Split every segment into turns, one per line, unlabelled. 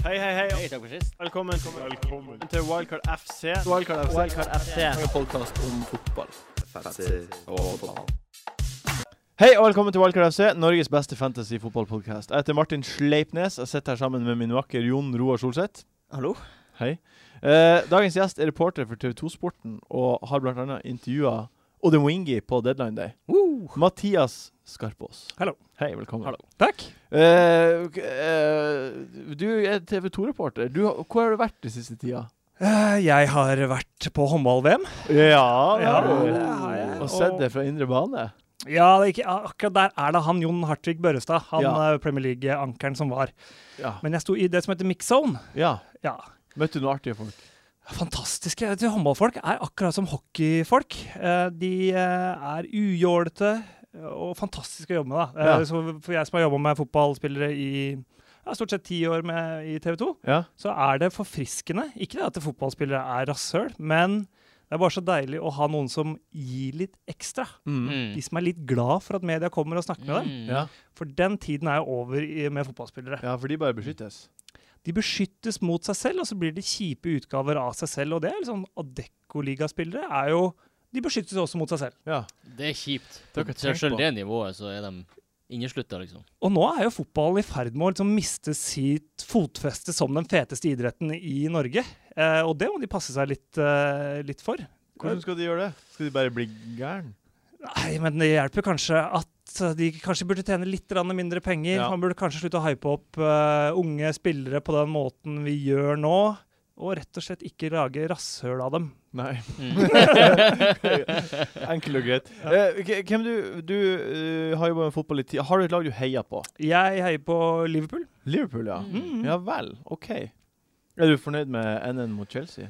Hei, hei, hei.
takk for sist.
Velkommen, til Wildcard FC.
Wildcard FC.
Wildcard FC.
En podkast om fotball.
Hei og velkommen til Wildcard FC, Norges beste fantasy-fotballpodkast. Jeg heter Martin Sleipnes. Jeg sitter her sammen med min vakker Jon Roar Solseth.
Hallo?
Hei. Eh, dagens gjest er reporter for TV 2-sporten og har bl.a. intervjua Odin Wingi på Deadline Day. Mathias Skarpås.
Hallo.
Hei, velkommen.
Hallo.
Takk.
Eh, ok, eh, du er TV 2-reporter. Du har- Hvor har du vært den siste tida?
Eh, Jeg har vært på håndball-VM.
Ja,
det har du. Det har jeg.
Mm. Og sett
Og-
det fra indre bane.
Ja, det er ikke, akkurat der er det han Jon Hartvig Børrestad, han
Ja.
eh, Premier League-ankeren som var.
Ja.
Men jeg sto i det som heter mix zone.
ja.
Ja.
Møtte du noen artige folk?
Fantastiske vet du, håndballfolk er akkurat som hockeyfolk. Eh, De eh, er ujålete eh, og fantastiske å jobbe med. Da. Eh,
Ja.
Så for jeg som har jobba med fotballspillere i ja, stort sett ti år med, i TV 2,
Ja.
så er det forfriskende. Ikke det at fotballspillere er rasshøl, men det er bare så deilig å ha noen som gir litt ekstra.
Mm.
De som er litt glad for at media kommer og snakker med dem.
Mm. Ja.
For den tiden er jo over i, med fotballspillere.
ja, for de bare beskyttes.
De beskyttes mot seg selv, og så blir de kjipe utgaver av seg selv. Og det er liksom Adecco-ligaspillere er jo De beskyttes også mot seg selv.
Ja.
Det er kjipt.
Dere
På
tenker
selv
på-
det nivået, så er de inneslutta, liksom.
Og nå er jo fotballen i ferd med å liksom miste sitt fotfeste som den feteste idretten i Norge. Eh, og det må de passe seg litt, eh, litt for.
Hvordan skal de gjøre det? Skal de bare bli gæren?
Nei, men det hjelper kanskje at de kanskje burde tjene litt grann mindre penger.
Ja.
Man burde kanskje slutte å hype opp eh, unge spillere på den måten vi gjør nå. Og rett og slett ikke lage rasshøl av dem.
Nei.
Mm.
Enkelt og greit. Eh, ok, hvem du Du eh, har jobba med fotball i tid. Har du et lag du heier på?
Jeg heier på Liverpool.
Liverpool, ja.
Mm.
Ja vel. OK. Er du fornøyd med NN mot Chelsea?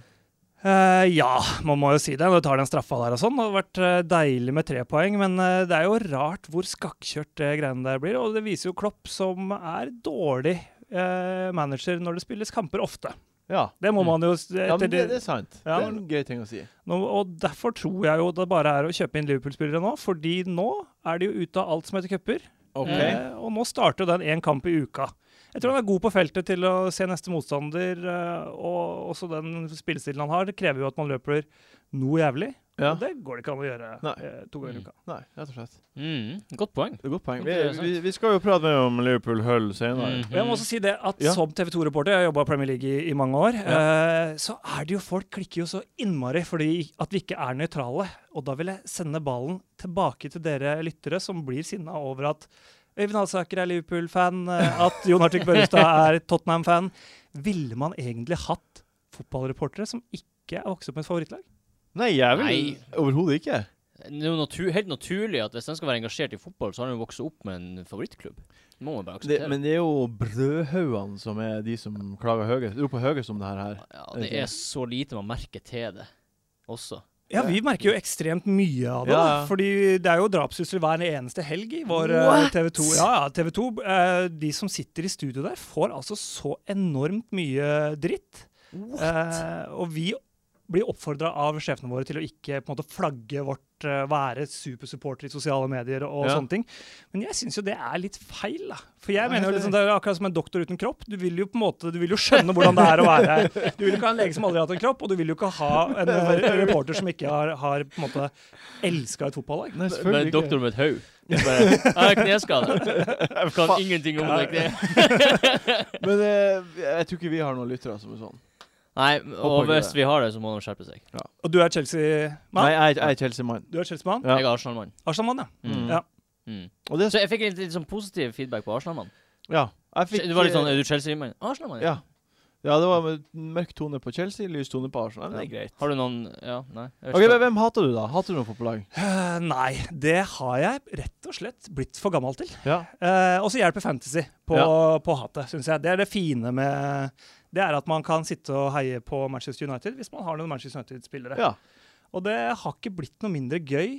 Eh, ja, man må jo si det. Når du tar den straffa der og sånn. Det har vært eh, deilig med tre poeng, men eh, det er jo rart hvor skakkjørt det greiene der blir. Og det viser jo Klopp, som er dårlig eh, manager når det spilles kamper ofte.
Ja.
Det må
Mm.
man jo
ja men
etter
det,
det-
det er sant.
Ja.
Det er en grei ting å si.
Nå, og derfor tror jeg jo det bare er å kjøpe inn Liverpool-spillere nå, fordi nå er de jo ute av alt som heter cuper.
OK.
Eh, og nå starter jo den én kamp i uka. Jeg tror han er god på feltet til å se neste motstander, eh, og også den spillestilen han har. Det krever jo at man løper noe jævlig.
Ja.
Og det går det ikke an å gjøre
Nei.
eh, to ganger i uka.
Nei, rett og slett.
Mm. Godt poeng.
Det er et godt poeng. Vi,
Interessant.
vi, vi skal jo prate mer om Liverpool Hull senere.
Mhm.
Og Jeg må også si det at
Ja.
Som TV 2-reporter, jeg har jobba i Premier League i, i mange år, eh, så er det jo folk klikker jo så innmari fordi at vi ikke er nøytrale. Og da vil jeg sende ballen tilbake til dere lyttere som blir sinna over at Øyvind Alsaker er Liverpool-fan, eh, at Jon Artik Børrestad er Tottenham-fan. Ville man egentlig hatt fotballreportere som ikke er vokst opp med et favorittlag?
Nei, jeg vil
Nei.
overhodet ikke.
Det er jo natu helt naturlig at hvis de skal være engasjert i fotball, så har de jo vokst opp med en favorittklubb. Det må man bare
Det,
akseptere.
men det er jo brødhaugene som er de som klager høyest. Du på høyest om det her. her.
ja, det er så lite man merker til det også.
Ja, vi merker jo ekstremt mye av det.
Ja,
Da.
ja.
Fordi det er jo drapstrusler hver eneste helg i vår eh, TV 2. Ja, ja, TV 2. eh, de som sitter i studio der, får altså så enormt mye dritt. Eh, og vi blir oppfordra av sjefene våre til å ikke på en måte flagge vårt eh, være supersupporter i sosiale medier og
Ja.
sånne ting. Men jeg syns jo det er litt feil, da. For
Ja,
jeg mener jo
det-
liksom, det er akkurat som en doktor uten kropp. Du vil jo på en måte, du vil jo skjønne hvordan det er å være Du vil jo ikke ha en lege som aldri har hatt en kropp, og du vil jo ikke ha en eh, reporter som ikke har, har på en måte elska et fotballag.
Nei,
Med en doktor med et hode. Jeg bare, Jeg har kneskade. Jeg kan
Faen.
ingenting om det. ikke det.
Men eh, jeg tror ikke vi har noen lyttere som er sånn.
Nei, og
ikke
hvis
det.
vi har det, så må de skjerpe seg.
Og du er Chelsea-mann?
Nei, jeg, jeg er Chelsea-mann.
Du er Chelsea-mann?
Ja.
Jeg er Arsenal-mann.
Arsenal-mann, ja.
Mm.
Ja.
Mm.
Og det,
Så jeg fikk litt, litt sånn positiv feedback på Arsenal-mann.
ja, jeg fikk,
Det var litt sånn
eh,
Er du Chelsea-mann? Arsenal-mann?
ja. ja, det var med mørk tone på Chelsea, lys tone på Arsenal. Men det er greit.
Har du noen Ja, nei. Jeg
Ok,
vet ikke.
men Hvem hater du, da? Hater du noen fotballag?
Eh, nei, det har jeg rett og slett blitt for gammel til.
Ja.
Eh, og så hjelper fantasy på, på hatet, syns jeg. Det er det fine med Det er at man kan sitte og heie på Manchester United hvis man har noen Manchester United-spillere.
Ja.
Og det har ikke blitt noe mindre gøy.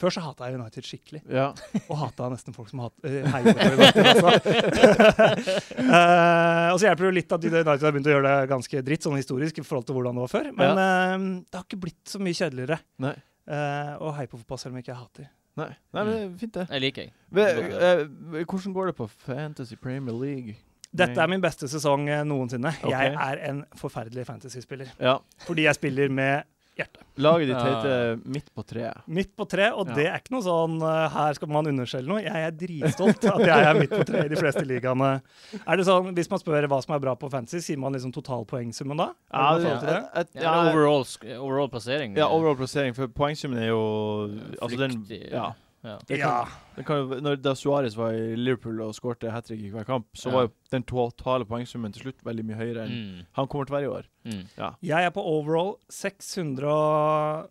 Før så hata jeg United skikkelig,
ja.
og hata nesten folk som hat, eh, heier på United også. Eh, og så hjelper det jo litt at United har begynt å gjøre det ganske dritt, sånn historisk, i forhold til hvordan det var før. Men eh, det har ikke blitt så mye kjedeligere
Nei.
eh, å heie på fotball selv om jeg ikke hater.
Nei. Nei, men det er fint, det.
Jeg liker jeg.
Ve- eh, Hvordan går det på Fantasy Premier League?
Dette er min beste sesong eh, noensinne. Jeg
Ok.
er en forferdelig fantasyspiller.
Ja.
Fordi jeg spiller med hjertet.
Laget ditt
Ja.
heter Midt på treet.
Midt på tre, og
Ja.
det er ikke noe sånn eh, her skal man underskjelle noe. Jeg er dritstolt at jeg er midt på tre i de fleste ligaene. Er det sånn, Hvis man spør hva som er bra på fantasy, sier man liksom totalpoengsummen da?
Ja,
Er det noe forhold til det?
et- et-
Ja, eller overall, sk- overall plassering.
ja, overall plassering, for poengsummen er jo
Eh,
Altså, den
flyktig.
Ja.
Ja.
Det
Ja.
kan, det kan, jo- når da Suárez var i Liverpool og skårte hat trick i hver kamp, så
Ja.
var jo den totale poengsummen til slutt veldig mye høyere enn
Mm.
han kommer til å være i år.
Mm.
Jeg er på overall 600 og-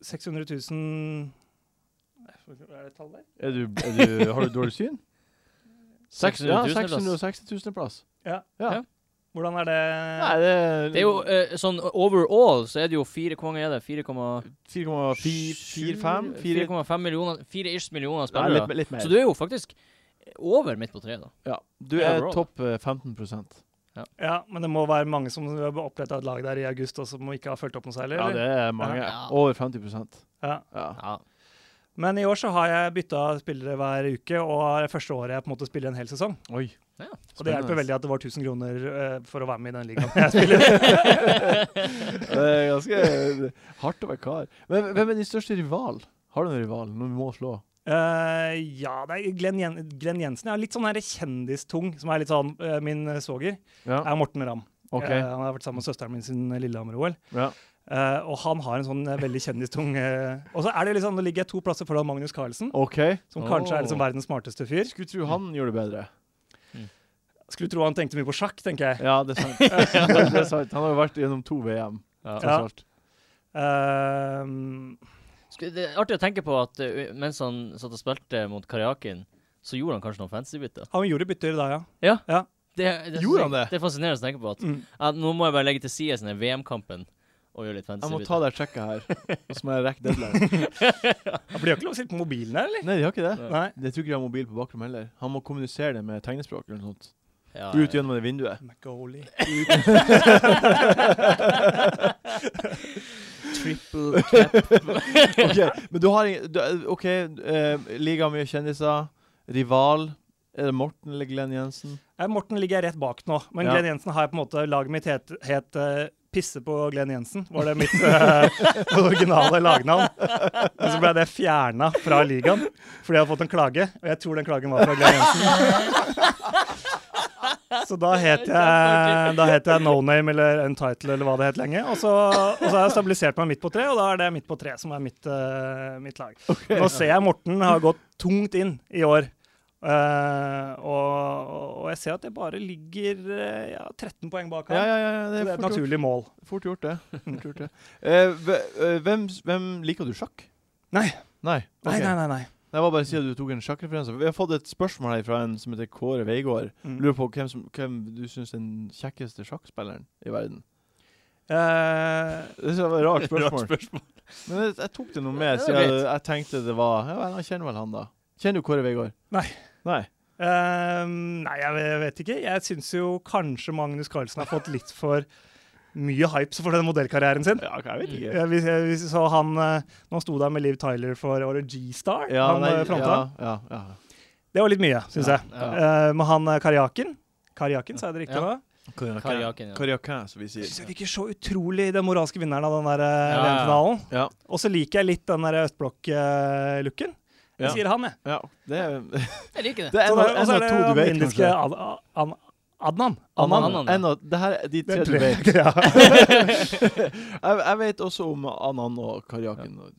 600 000 Hva er det tallet der?
Er du, er du, har du dårlig syn? Seks-
600
ja,
000 plass.
660 000 plass.
Ja.
Ja.
Ja.
Hvordan er det?
Nei, det er,
Det er jo eh, sånn overall så er det jo fire Hvor mange er det? 4,45
4,45 4
millioner? Fire ish
Nei,
millioner spillere.
litt, litt mer.
så du er jo faktisk over midt på treet, da.
ja. du
Ja,
er
overall.
topp eh, 15 Ja,
Ja, Men det må være mange som har oppletta et lag der i august og som ikke har fulgt opp noe særlig? eller?
det er mange.
Ja.
Over 50
Ja.
ja.
Ja.
Men i år så har jeg bytta spillere hver uke, og er det første året jeg på en måte spiller en hel sesong.
Oi.
Ja.
Og det hjelper
Spennende. altså.
veldig at det var 1000 kroner eh, for å være med i den ligaen jeg spiller.
Det er ganske eh, hardt å være kar. Men hvem er din største rival? Har du noen rival? Noen vi må slå?
Eh, ja, det er Glenn, Jen Glenn Jensen. Jeg er litt sånn her kjendistung, som er litt sånn eh, Min eh, svoger
Ja,
er Morten Ramm.
OK.
Eh, han har vært sammen med søsteren min siden Lillehammer-OL.
Ja.
Eh, og han har en sånn eh, veldig kjendistung eh, Og så er det litt sånn, nå ligger jeg to plasser foran Magnus Carlsen,
OK.
som kanskje er liksom
Åh.
verdens smarteste fyr.
Skulle tro han gjorde det bedre.
Skulle tro han tenkte mye på sjakk, tenker jeg.
Ja, det er sant. det er sant. Han har jo vært gjennom to VM, tross
Ja.
alt.
Eh, Ehm,
Sku- Det er artig å tenke på at eh, mens han satt og spilte mot Karjakin, så gjorde han kanskje noen fancy bytter.
han gjorde bytter da, ja.
Det, det,
Gjorde han det?
Det er fascinerende å tenke på. at
Mm.
ja, Nå må jeg bare legge til side denne VM-kampen og gjøre litt fancy
Jeg må ta
bytter.
det her sjekket her, og så må jeg rekke deadline.
Han blir jo ikke lov å sitte på mobilen her, eller?
Nei, de har ikke det.
Nei.
Jeg tror ikke de har mobil på bakrom heller. Han må kommunisere det med tegnespråk eller noe sånt.
Ja,
Ut gjennom det vinduet.
McGoley.
Triple cap.
OK, men du har ingen du- OK, eh, liga mye kjendiser. Rival. Er det Morten eller Glenn Jensen?
Eh, Morten ligger jeg rett bak nå, men
Ja.
Glenn Jensen har jeg på en måte Laget mitt het, het eh, Pisse på Glenn Jensen, var det mitt eh, originale lagnavn. Men så ble det fjerna fra ligaen fordi jeg har fått en klage, og jeg tror den klagen var fra Glenn Jensen. Så da het jeg, da het jeg No Name eller Untitled eller hva det het lenge. Og så, og så har jeg stabilisert meg midt på tre, og da er det midt på tre som er mitt, eh, mitt lag. Nå ser jeg Morten har gått tungt inn i år. Eh, og, og jeg ser at jeg bare ligger eh, ja, 13 poeng bak
Ja,
ham.
ja, ja.
Så
Det er
det er et
fort gjort,
naturlig mål.
fort gjort det. Fort gjort det. Eh, hve- eh, hvem, s- hvem liker du sjakk?
Nei.
Nei,
Nei,
ok.
nei, nei. nei.
Jeg var bare å si at du tok en sjakkreferanse. Vi har fått et spørsmål her fra en som heter Kåre Veigård.
Mm.
Lurer på hvem, som, hvem du syns er den kjekkeste sjakkspilleren i verden.
Eh,
Det synes jeg var et rart spørsmål.
Rart spørsmål.
Men jeg, jeg tok det noe med,
Ja, det
siden
var
jeg, jeg tenkte det var Ja, vel, jeg kjenner vel han, da. Kjenner du Kåre Veigård?
Nei.
Nei.
eh, nei, jeg ve- vet ikke. Jeg syns jo kanskje Magnus Carlsen har fått litt for mye hype for den modellkarrieren sin.
Ja, jeg vet ikke.
Jeg, vi, vi så han eh, Når han sto der med Liv Tyler for året G-Star,
Ja,
han
nei,
eh, fronta.
ja, ja, ja.
Det var litt mye, syns
Ja,
jeg.
ja.
Eh, men han eh, Karjakin Karjakin, sa jeg det riktig
Ja.
nå?
Karjakin, ja.
Karjakin, som vi
Syns
sier.
jeg virker så utrolig den moralske vinneren av den der eh,
Ja, ja.
VM-finalen.
Ja.
Og så liker jeg litt den der østblokk-looken. Jeg
Ja.
sier han, jeg.
ja. Det er,
Jeg liker det.
det er en
Så
av
da-
en
Og
av
så er det
to du
han
vet,
indiske
kanskje.
Ad Ad Adnan.
Annan,
Annan, ja.
en av, det her er de tre
Det er
du vet.
tre- ja.
Jeg, jeg vet også om Annan og Karjakin. og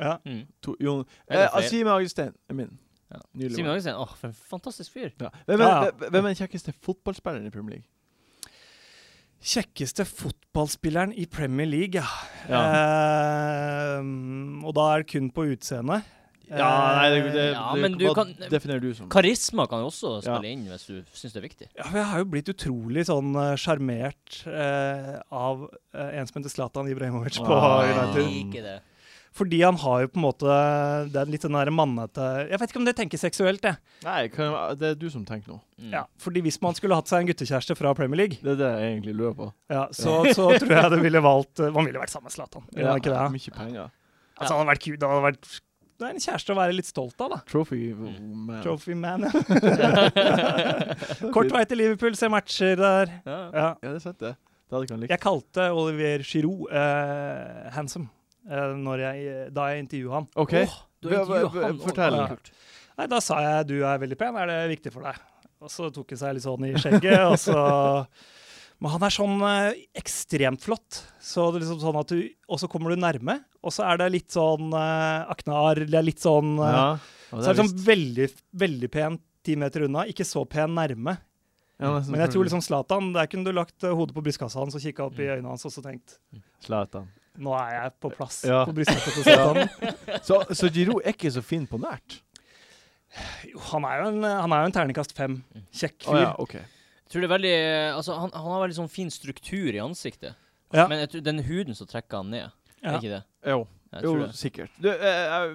ja.
Mm.
to- Jon
Er det
eh,
flere?
Simen Agestein er min.
Ja.
Nylig
Simen
valgt.
Hagensen, åh, for en fantastisk fyr.
Ja. Hvem,
Ja, ja.
er, hvem er den kjekkeste fotballspilleren i Premier League?
Kjekkeste fotballspilleren i Premier League, ja. Ehm, og da er det kun på Ehm, utseendet.
Ja, nei, det, det,
Ja,
det,
men du
hva
kan-
definerer du som?
Karisma kan jo også
Ja.
spille inn hvis du syns det er viktig.
Ja, for jeg har jo blitt utrolig sånn eh, sjarmert eh, av eh, en som heter Zlatan Ibrahimovic på
Ah,
jeg
United.
liker det.
Fordi han har jo på en måte Det er litt den derre mannete Jeg vet ikke om det tenker seksuelt, jeg.
Nei, kan, det er du som tenker nå.
Mm.
Ja, fordi hvis man skulle hatt seg en guttekjæreste fra Premier League,
Det er det jeg egentlig lurer på.
ja, så, så tror jeg det ville valgt eh, Man ville vært sammen med Zlatan. Ville han ikke det?
Mye penger.
Altså, han hadde vært cute, han hadde vært det er en kjæreste å være litt stolt av, da.
Trophy man.
Trophy man. ja. Kort vei til Liverpool, se matcher der.
Ja.
Ja.
Ja, det er sant, det. Det hadde ikke han likt.
Jeg kalte Olivier Giroud eh, handsome eh, når jeg, da jeg intervjuet ham.
OK.
Åh, du
Hva-
har
hva-
intervjuet han.
fortell.
Åh, det er kult.
Nei, da sa jeg du er veldig pen, er det viktig for deg? Og så tok han seg litt sånn i skjegget, og så Men han er sånn eh, ekstremt flott. Så det er liksom sånn at du Og så kommer du nærme, og så er det litt sånn eh, aknar, det er litt sånn eh,
Ja. Ja,
Så
det
er det
visst.
sånn veldig, veldig pen ti meter unna, ikke så pen nærme.
Ja, nesten
Men jeg tror
selvfølgelig. Mm.
liksom Zlatan, der kunne du lagt eh, hodet på brystkassa hans og kikka opp i øynene hans og så tenkt
Zlatan.
Nå er jeg på plass
Ja.
på brystkassa til Zlatan.
Så, så Giroud er ikke så fin på nært?
Jo, han er jo en, han er jo en terningkast fem. Kjekk
Mm. Å
fyr.
ja, OK.
Jeg tror det er veldig Altså, han, han har veldig sånn fin struktur i ansiktet.
Ja.
Men jeg tror den huden som trekker han ned,
Ja.
er ikke det?
Jo,
Jeg
jo
tror det.
sikkert. Du, eh, eh,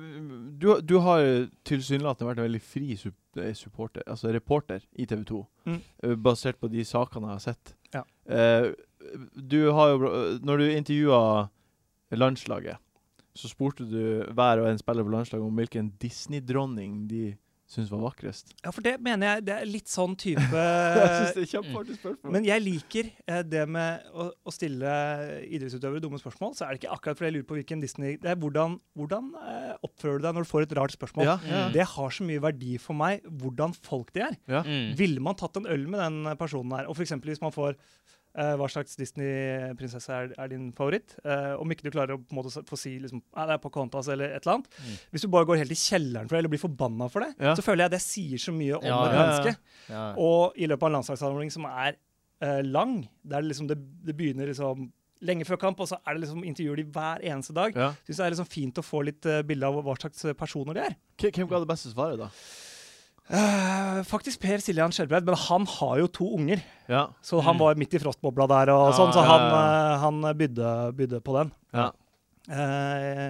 du, du har tilsynelatende vært en veldig fri sup eh, supporter, altså reporter i TV 2,
Mm.
eh, basert på de sakene jeg har sett.
Ja.
Eh, du har jo bra- Når du intervjua landslaget, så spurte du hver og en spiller på landslaget om hvilken Disney-dronning de syntes var vakrest.
Ja, for det mener jeg det er litt sånn type
jeg syns det er
mm.
kjempeartig spørsmål.
Men jeg liker eh, det med å, å stille idrettsutøvere dumme spørsmål. Så er det ikke akkurat fordi jeg lurer på hvilken Disney Det er hvordan, hvordan eh, oppfører du deg når du får et rart spørsmål.
ja, ja.
Det har så mye verdi for meg hvordan folk de er.
Mm.
Ville man tatt en øl med den personen her? Og for eksempel hvis man får eh, hva slags Disney-prinsesse er, er din favoritt? Eh, om ikke du klarer å på en måte s- få si liksom, «Nei, det er Pocahontas eller et eller annet.
Mm.
Hvis du bare går helt i kjelleren for det, eller blir forbanna for det,
Ja.
så føler jeg det sier så mye om
Ja,
ja,
et
ja.
menneske.
Ja.
Og i løpet av en landslagssamling som er eh, lang, der det, liksom, det, det begynner liksom lenge før kamp, og så er det liksom intervjuer de hver eneste dag,
Ja.
syns jeg er liksom fint å få litt uh, bilde av hva slags personer de er.
K- Hvem ga det beste svaret, da?
Eh, faktisk Per Siljan Skjelbreid, men han har jo to unger.
Ja.
Så han
Mm.
var midt i frostbobla der, og
Ja,
sånn, så
ja,
han,
ja.
eh, han bydde, bydde på den.
Ja.
Eh,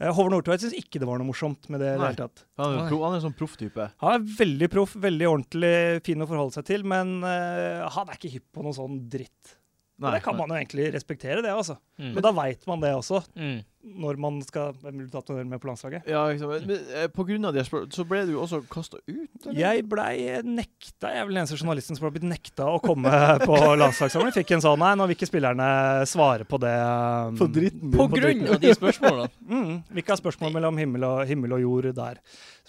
eh, Håvard Nordtveit syns ikke det var noe morsomt med det. i det
Nei.
hele tatt.
Han er,
Oi.
en pro, han er en sånn profftype.
Han er veldig proff, veldig ordentlig, fin å forholde seg til, men eh, han er ikke hypp på noe sånn dritt. Og det kan man jo egentlig respektere, det, altså.
Mm.
Men da veit man det også,
Mm.
når man skal Hvem vil du tatt med på landslaget?
Ja, ikke sant. Men, men eh, på grunn av de her spør- så ble du jo også kasta ut, eller?
Jeg blei nekta, jeg er vel den eneste journalisten som har blitt nekta å komme på landslagssamling. Fikk en sånn nei, nå vil ikke spillerne svare på det. um,
På dritten din.
På grunn av de spørsmålene.
Mm, vi ikke har spørsmål mellom himmel og, himmel og jord der.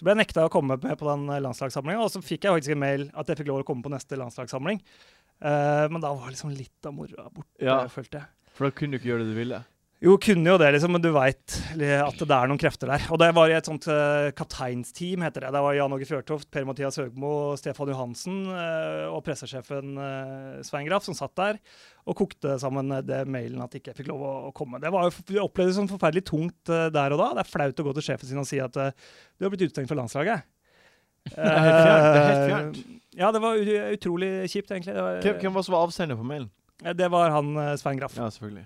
Så ble jeg nekta å komme med på den landslagssamlinga, og så fikk jeg faktisk en mail at jeg fikk lov å komme på neste landslagssamling. Eh, men da var liksom litt av moroa borte,
Ja.
følte jeg.
For da kunne du ikke gjøre det du ville.
Jo, kunne jo det, liksom, men du veit at det er noen krefter der. Og det var i et sånt eh, kapteinsteam, heter det. Det var Jan Åge Fjørtoft, Per-Mathias Høgmo, Stefan Johansen eh, og pressesjefen eh, Svein Graff som satt der og kokte sammen eh, det mailen at ikke jeg fikk lov å, å komme. Det var jo, Vi opplevde det som forferdelig tungt eh, der og da. Det er flaut å gå til sjefen sin og si at eh, du har blitt utestengt fra landslaget.
Det er helt fjernt. Det er helt
Eh, Ja, det var u- utrolig kjipt, egentlig. Det var,
Hvem, hvem var som var avsender på mailen?
eh, det var han eh, Svein Graff.
Ja, selvfølgelig.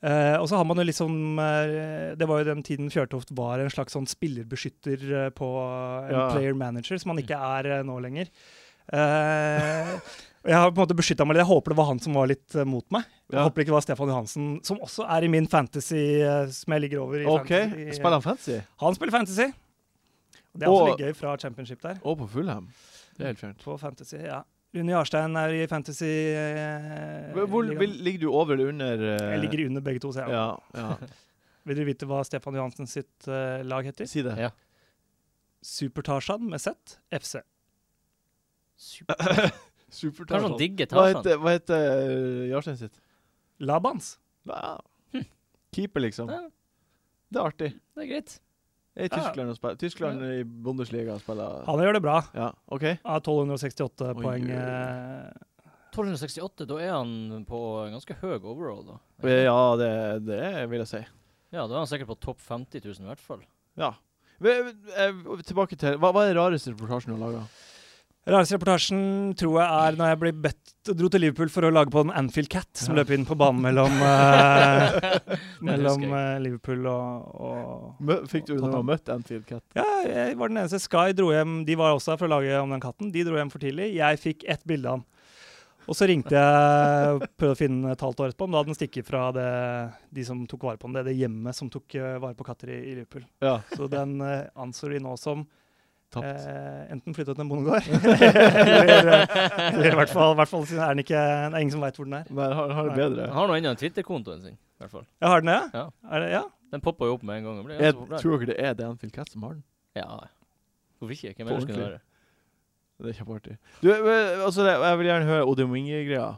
Eh, og så har man jo liksom eh, Det var jo den tiden Fjørtoft var en slags sånn spillerbeskytter eh, på en
Ja.
player manager, som han ikke er eh, nå lenger. Eh, og jeg har på en måte beskytta meg litt. Jeg håper det var han som var litt eh, mot meg. Jeg
Ja.
håper ikke det var Stefan Johansen, som også er i min fantasy, eh, som jeg ligger over i.
OK.
fantasy.
Spiller han fancy?
Han spiller fantasy. Og det er også
Og-
litt gøy fra championship der.
Og på Fulham? Det er helt fjernt.
På fantasy, ja. Rune Jarstein er i fantasy. eh,
Hvor, hvor vil,
ligaen.
ligger du over eller under eh,
jeg ligger under begge to, så jeg
ja, ja.
Vil dere vite hva Stefan Johansen sitt eh, lag heter?
Si det.
Ja.
Super-Tarzan med Z, FC.
Super.
Supertall.
altså.
Kanskje han digger
Hva
Tarzan.
heter, hva heter eh, Jarstein sitt?
Labans.
Ja. Keeper, liksom.
Ja.
Det er artig.
Det er greit.
Jeg er i
Ja.
Tyskland og spiller. Tyskland i Bundesliga og spiller
Han gjør det bra.
Ja, OK.
Har 1268
Oi,
poeng.
oi, oi.
eh,
1268, da er han på ganske høy overall, da.
Ja, det, det vil jeg si.
Ja, da er han sikkert på topp 50 000 i hvert fall.
Ja. Vi- vi- eh, Tilbake til Hva, hva er den rareste reportasjen du har laga?
Rareste reportasjen tror jeg er når jeg ble bedt dro til Liverpool for å lage på en Anfield Cat som
Ja.
løp inn på banen mellom, eh, mellom
husker
eh, Liverpool og, og
Fikk du når du har møtt Anfield Cat?
Ja, jeg var den eneste. Sky dro hjem. De var også her for å lage om den katten. De dro hjem for tidlig. Jeg fikk ett bilde av han. Og så ringte jeg prøvde å finne et halvt år etterpå, men da hadde den stikket fra det, de som tok vare på den, det, det hjemmet som tok eh, vare på katter i, i Liverpool.
Ja,
Så den eh, anså de nå som
tapt.
eh, enten flyttet til en bondegård, eller, eh, eller i hvert fall, i hvert fall siden er den ikke, det er ingen som veit hvor den er.
Men han har det
Han
bedre.
har nå ennå Twitter-kontoen sin, i hvert fall.
Jeg har den, ja?
Ja.
Er det, ja?
Den poppa jo opp med en gang. og Ble
Jeg
ganske populær.
tror dere det er Dan Filcat som har den.
Ja. Hvorfor ikke? Hvem
På
ellers kunne det være?
ordentlig. Det er kjempeartig. Du, eh, altså, det- jeg vil gjerne høre Odin Winge-greia.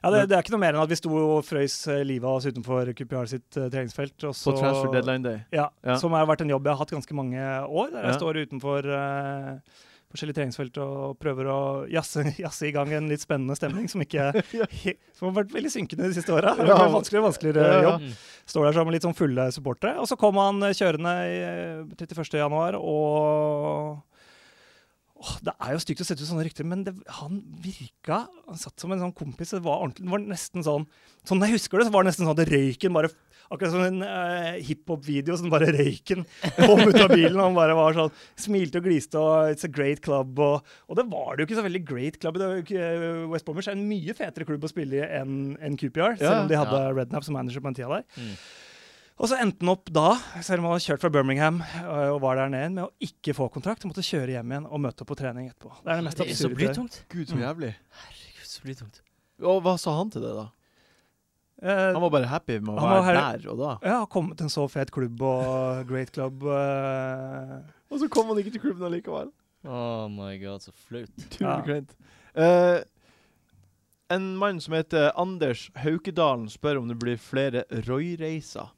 Ja, det, det er ikke noe mer enn at vi sto og frøys eh, livet av oss utenfor QPR sitt eh, treningsfelt. Og
På
så,
Transfer Deadline Day.
Ja,
Ja.
Som har vært en jobb jeg har hatt ganske mange år. Der
Ja.
jeg står utenfor eh, forskjellige treningsfelt og prøver å jazze, jazze i gang en litt spennende stemning som, ikke, som har vært veldig synkende de siste åra. Det har
Ja.
vært en vanskeligere og vanskeligere
Ja, ja.
jobb. Står der sammen med litt sånn fulle supportere. Og så kom han eh, kjørende i, eh, 31. januar, og Åh, det er jo stygt å sette ut sånne rykter, men det, han virka Han satt som en sånn kompis. Det var, ordentlig, det var nesten sånn Sånn jeg husker det, så var det nesten sånn at røyken bare Akkurat som en eh, hiphop-video som bare røyken kom ut av bilen. og Han bare var sånn, smilte og gliste og 'It's a great club'. Og, og det var det jo ikke så veldig great club. Det var jo ikke, eh, West Bromwich er en mye fetere klubb å spille i enn enn QPR, selv om de hadde
Ja.
Rednap som manager på den tida der.
Mm.
Og så endte han opp da, selv om han hadde kjørt fra Birmingham øh, og var der nede, med å ikke få kontrakt og måtte kjøre hjem igjen og møte opp på trening etterpå. Det er det mest
Det er så
absurde.
blytungt.
Gud, så jævlig.
Herregud, så blytungt.
Mm. Og hva sa han til det, da?
Eh,
Han var bare happy med å
Han var
være der og da.
ja, har kommet til en så fet klubb og great club. øh,
Og så kom han ikke til klubben allikevel.
Oh my god, så flaut.
Ja.
Utrolig kleint. Eh, en mann som heter Anders Haukedalen, spør om det blir flere Roy-reiser.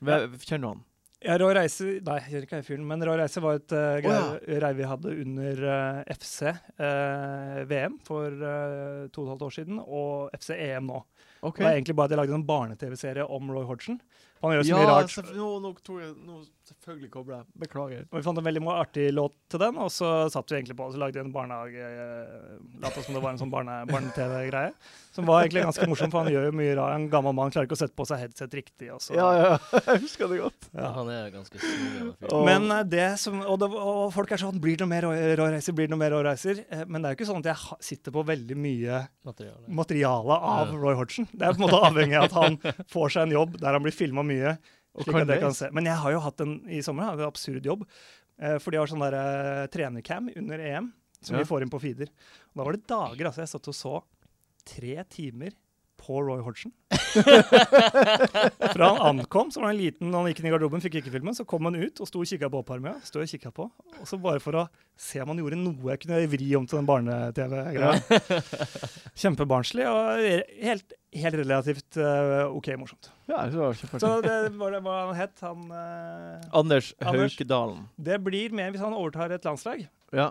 Hva- Kjenner du han?
Ja, Rå Reise Nei, jeg kjenner ikke jeg fyren, men Rå Reise var et
Å,
uh,
ja.
rei vi hadde under eh, FC eh, VM for eh, to og et halvt år siden, og FC EM nå.
Ok.
Det var egentlig bare at jeg lagde en barne-TV-serie om Roy Hodgson. Han gjør så
Ja,
mye rart.
selvf- nå, nå, tror jeg, nå selvfølgelig kobler jeg. Beklager.
Og vi fant en veldig mo- artig låt til den, og så satt vi egentlig på og så lagde vi en barnehage... eh, Lata som det var en sånn barne- barne-TV-greie. Som var egentlig ganske morsom, for han gjør jo mye rart. En gammel mann klarer ikke å sette på seg headset riktig. Og så.
Ja, ja, jeg husker det godt.
Ja.
Han er ganske snodig.
Og-
Men eh, det som, og, det, og folk er sånn Blir det noe mer Roy- Roy Reiser? Blir det noe mer Roy Reiser? Eh, Men det er jo ikke sånn at jeg ha- sitter på veldig mye
Materiale.
materiale av
Ja.
Roy Hodgson. Det er på en måte avhengig av at han får seg en jobb der han blir filma mye.
Og
slik
kan
at jeg
det.
kan se. Men jeg har jo hatt en i sommer, har jeg en absurd jobb. Eh, for de har sånn der, eh, trenercam under EM som
Ja.
vi får inn på feeder. Og da var det dager altså, jeg satt og så tre timer på Roy Hodgson. Fra han ankom, så var han liten, han gikk inn i garderoben, fikk ikke filmen. Så kom han ut og sto og kikka på oppvarminga. Stod og kikket på. Og så bare for å se om han gjorde noe jeg kunne vri om til den barne-TV-greia. Kjempebarnslig og helt, helt relativt eh, OK morsomt.
Ja, det var kjempeartig.
Så det var det hva han het. Han eh,
Anders
Anders.
Haukedalen.
Det blir med hvis han overtar et landslag.
Ja,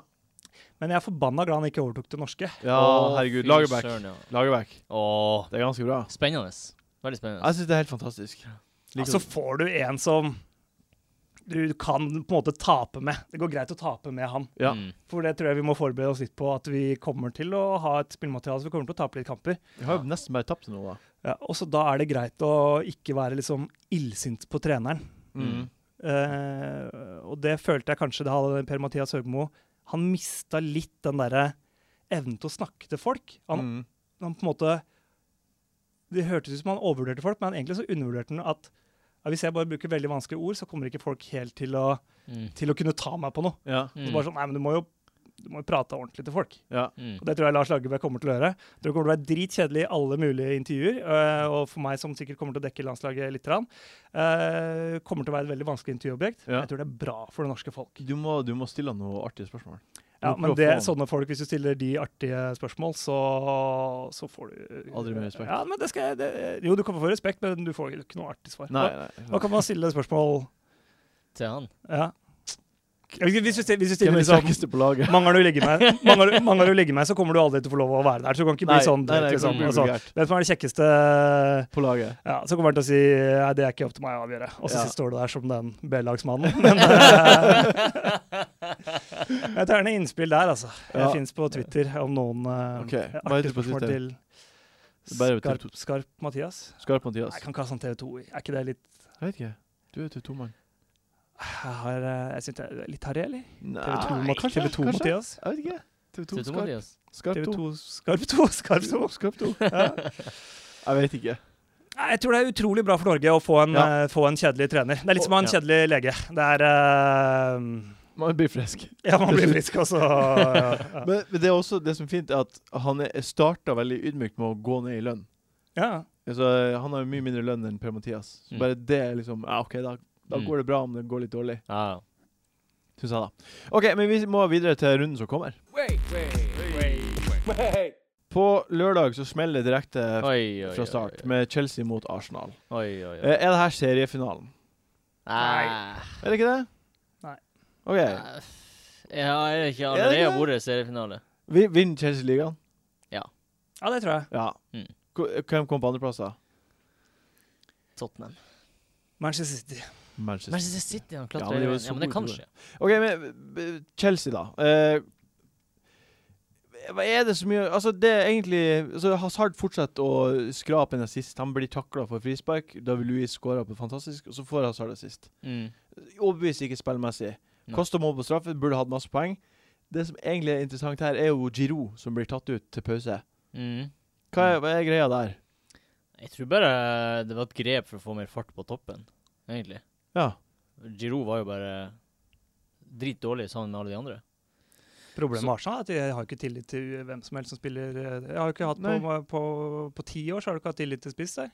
Men jeg er forbanna glad han ikke overtok det norske.
ja herregud. Lagerbäck.
Søren, ja.
Lagerbäck.
Åh,
Det er ganske bra.
Spennende. Veldig spennende.
Jeg syns det er helt fantastisk.
Ja, så Altså, får du en som du kan på en måte tape med. Det går greit å tape med han.
ja.
Mm.
For det tror jeg vi må forberede oss litt på, at vi kommer til å ha et spillmateriale, så vi kommer til å tape litt kamper.
Vi har jo nesten bare tapt til noe, da.
Ja, og så da er det greit å ikke være liksom illsint på treneren.
Mm.
Eh, og det følte jeg kanskje det hadde Per-Mathias Høgmo. Han mista litt den derre evnen til å snakke til folk. Han,
Mm.
han på en måte Det hørtes ut som han overvurderte folk, men egentlig så undervurderte han at ja, hvis jeg bare bruker veldig vanskelige ord, så kommer ikke folk helt til å,
Mm.
til å kunne ta meg på noe.
Ja.
Så
Mm.
bare sånn, nei, men du må jo du må jo prate ordentlig til folk.
ja.
Mm.
Og Det tror jeg Lars Lagerbäck kommer til å gjøre. Jeg tror Det kommer til å være dritkjedelig i alle mulige intervjuer. øh, Og for meg, som sikkert kommer til å dekke landslaget litt, grann, øh, kommer til å være et veldig vanskelig intervjuobjekt.
Ja.
Jeg tror det er bra for det norske folk.
Du, må, du må stille han noen artige spørsmål.
Ja,
Du må prøve
men
å
det, sånn-
få han-
sånne folk, hvis du stiller de artige spørsmål, så, så får du
Aldri mer respekt.
Ja, men det skal jeg, det, jo, du kommer for respekt, men du får jo ikke noe artig svar.
Nei,
Hva,
nei.
hva kan man stille spørsmål
Til han.
Ja. Hvis du, stiller- hvis du
Hvem
stiller
er
liksom
sterkeste på laget?
Mangler du ligge med, mangler, du- mangler du ligge med, så kommer du aldri til å få lov å være der. Så du kan ikke bli sånn.
nei, nei,
direkt,
det kan
liksom,
bli
altså.
vulgært.
Hvem som er det kjekkeste
På laget.
ja, Så kommer han til å si Nei, det er ikke opp til meg å avgjøre. Og så
Ja.
står du der som den B-lagsmannen. Men eh, Jeg tar gjerne innspill der, altså. Jeg
Ja.
fins på Twitter om noen eh,
Ok, hva heter du
artige
på
spørsmål
Twitter?
til
Det er bare på TV2.
Skarp, skarp Mathias.
Skarp
Nei,
Mathias.
jeg kan ikke ha sånn TV2. i. Er ikke det litt
Jeg vet ikke. Du er TV2-mann.
Jeg, har, eh, jeg synes det er litt harry, eller?
Nei,
TV2-Mathias?
Jeg vet ikke. TV2
TV2,
Skarp.
Mathias.
Skarp 2.
TV2 Skarp 2. Skarp 2.
Skarp 2.
Ja.
Jeg vet ikke.
Nei, Jeg tror det er utrolig bra for Norge å få en,
Ja.
eh, få en kjedelig trener. Det er litt som å ha en
Ja.
kjedelig lege. Det er eh,
Man blir frisk.
Ja, man blir frisk, og så ja, ja.
Men, men det er også det som er fint, er at han starta veldig ydmykt med å gå ned i lønn.
ja.
Altså, han har jo mye mindre lønn enn Per-Mathias. Så
Mm.
Bare det er liksom Ja, OK, da, da
Mm.
går det bra om det går litt dårlig,
Ja, ja.
syns jeg, da. OK, men vi må videre til runden som kommer. På lørdag så smeller det direkte
Oi, oi, oi.
fra start med Chelsea mot Arsenal.
Oi, oi, oi.
Eh, Er det her seriefinalen?
Nei.
Er det ikke det?
Nei.
OK.
Ja, er det
Er
ikke
det
allerede
ikke
vært seriefinale?
Vi- Vinner Chelsea ligaen?
ja, det tror jeg.
Ja.
Mm.
Ko- Hvem kom på andreplass, da?
Tottenham.
Manchester City.
Manchester.
Manchester City han
Ja, men
klatrer
de
ja,
var
men,
så
ja, men det
gode
kan
i fjor.
skje.
OK, men eh, Chelsea, da. Eh, hva er det så mye Altså, det er egentlig altså, Hazard fortsetter å skrape en assist. Han blir takla for frispark. David Louis skårer på fantastisk, og så får Hazard assist.
Mm.
Overbevist ikke spillmessig.
Nei.
Kosta mål på straffe, burde hatt masse poeng. Det som egentlig er interessant her, er jo Giroud som blir tatt ut til pause.
Mm.
Hva er, hva er greia der?
Jeg tror bare det var et grep for å få mer fart på toppen, egentlig.
Ja.
Giroud var jo bare dritdårlig sammen med alle de andre.
Problemet med Arsenal er at jeg har ikke tillit til hvem som helst som spiller eh, Jeg har jo ikke hatt på, på, på ti år så har du ikke hatt tillit til spiss der.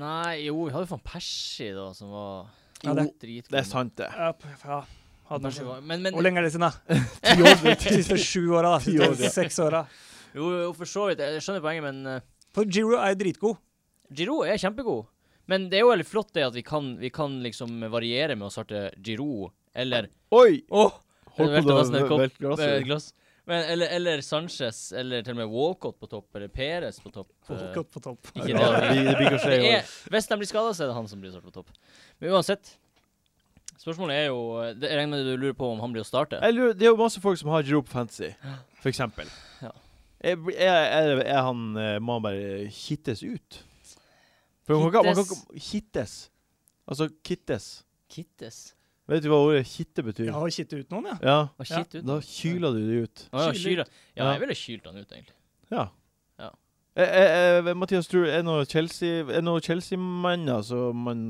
Nei, jo, vi hadde faen Persie, da, som var
Ja, det-
dritgod.
Det er sant, det.
Ja, p- ja. Hadde
Persie var- Men, men
Hvor lenge er det siden, da?
Ti år
De siste sju åra, da.
Ti år,
Siste seks åra.
jo, jo, for så vidt, jeg skjønner poenget, men eh,
For Giroud er dritgod.
Giroud er kjempegod. Men det er jo veldig flott det at vi kan, vi kan liksom variere med å starte Giroud eller
Oi!
Åh!
Holdt
Velta
på å
nesten et kopp-
velte
eh,
glasset.
glass. Men, eller, eller Sanchez, eller til og med Walcott på topp, eller Perez på topp. eh,
Godt på topp.
ikke
Ja, det blir- det blir ikke å skje i
Det
år.
er, hvis de blir skada, så er det han som blir satt på topp. Men uansett Spørsmålet er jo det, Jeg regner med du lurer på om han blir å starte?
Jeg lurer, det er jo masse folk som har Jerome Fantasy, for eksempel.
Ja.
Er, er, er han eh, Må han bare kittes ut? For man kan, ikke- man kan ikke Kittes. Altså kittes.
Kittes.
Vet du hva ordet kitte betyr?
Ja,
Ja.
å kitte ut noen, ja.
Og
Ja.
shit ut.
Da kyler du det ut.
Å, ja,
Kyl
kyler. Ja,
Ja.
jeg ville kylt han ut, egentlig.
Ja.
Ja.
Eh, eh, eh, Mathias, tror du er det noen Chelsea- er det noen Chelsea-manner som man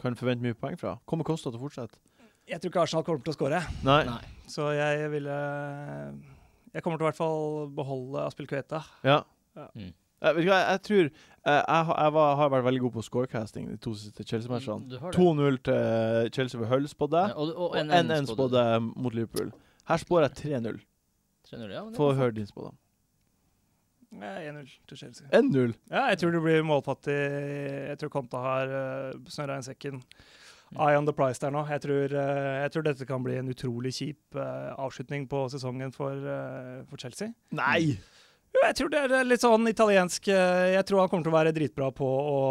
kan forvente mye poeng fra? Kommer Kosta til å fortsette?
Jeg tror ikke Arsenal kommer til å skåre,
Nei.
Nei.
så jeg ville Jeg kommer til i hvert fall beholde Aspilkueta.
Ja.
Ja.
Mm.
Jeg, vet du hva, jeg tror eh, Jeg, har- jeg var, har vært veldig god på scorecasting de to siste Chelsea-matchene.
Mm, Du har
2-0
det.
til Chelsea ved Hull spådde
Ja,
jeg,
og, og
og 1-1 spådde jeg mot Liverpool. Her spår jeg 3-0.
3-0, ja, men det
Få
var
høre din spådom.
Ja, 1-0 til Chelsea.
1-0!
Ja, jeg tror det blir målfattig. Jeg tror Konta har uh, snørra inn sekken. Eye on the price der nå. Jeg tror, eh, jeg tror dette kan bli en utrolig kjip eh, avslutning på sesongen for, eh, for Chelsea.
Nei!
Jo, jeg tror det er litt sånn italiensk eh, Jeg tror han kommer til å være dritbra på å,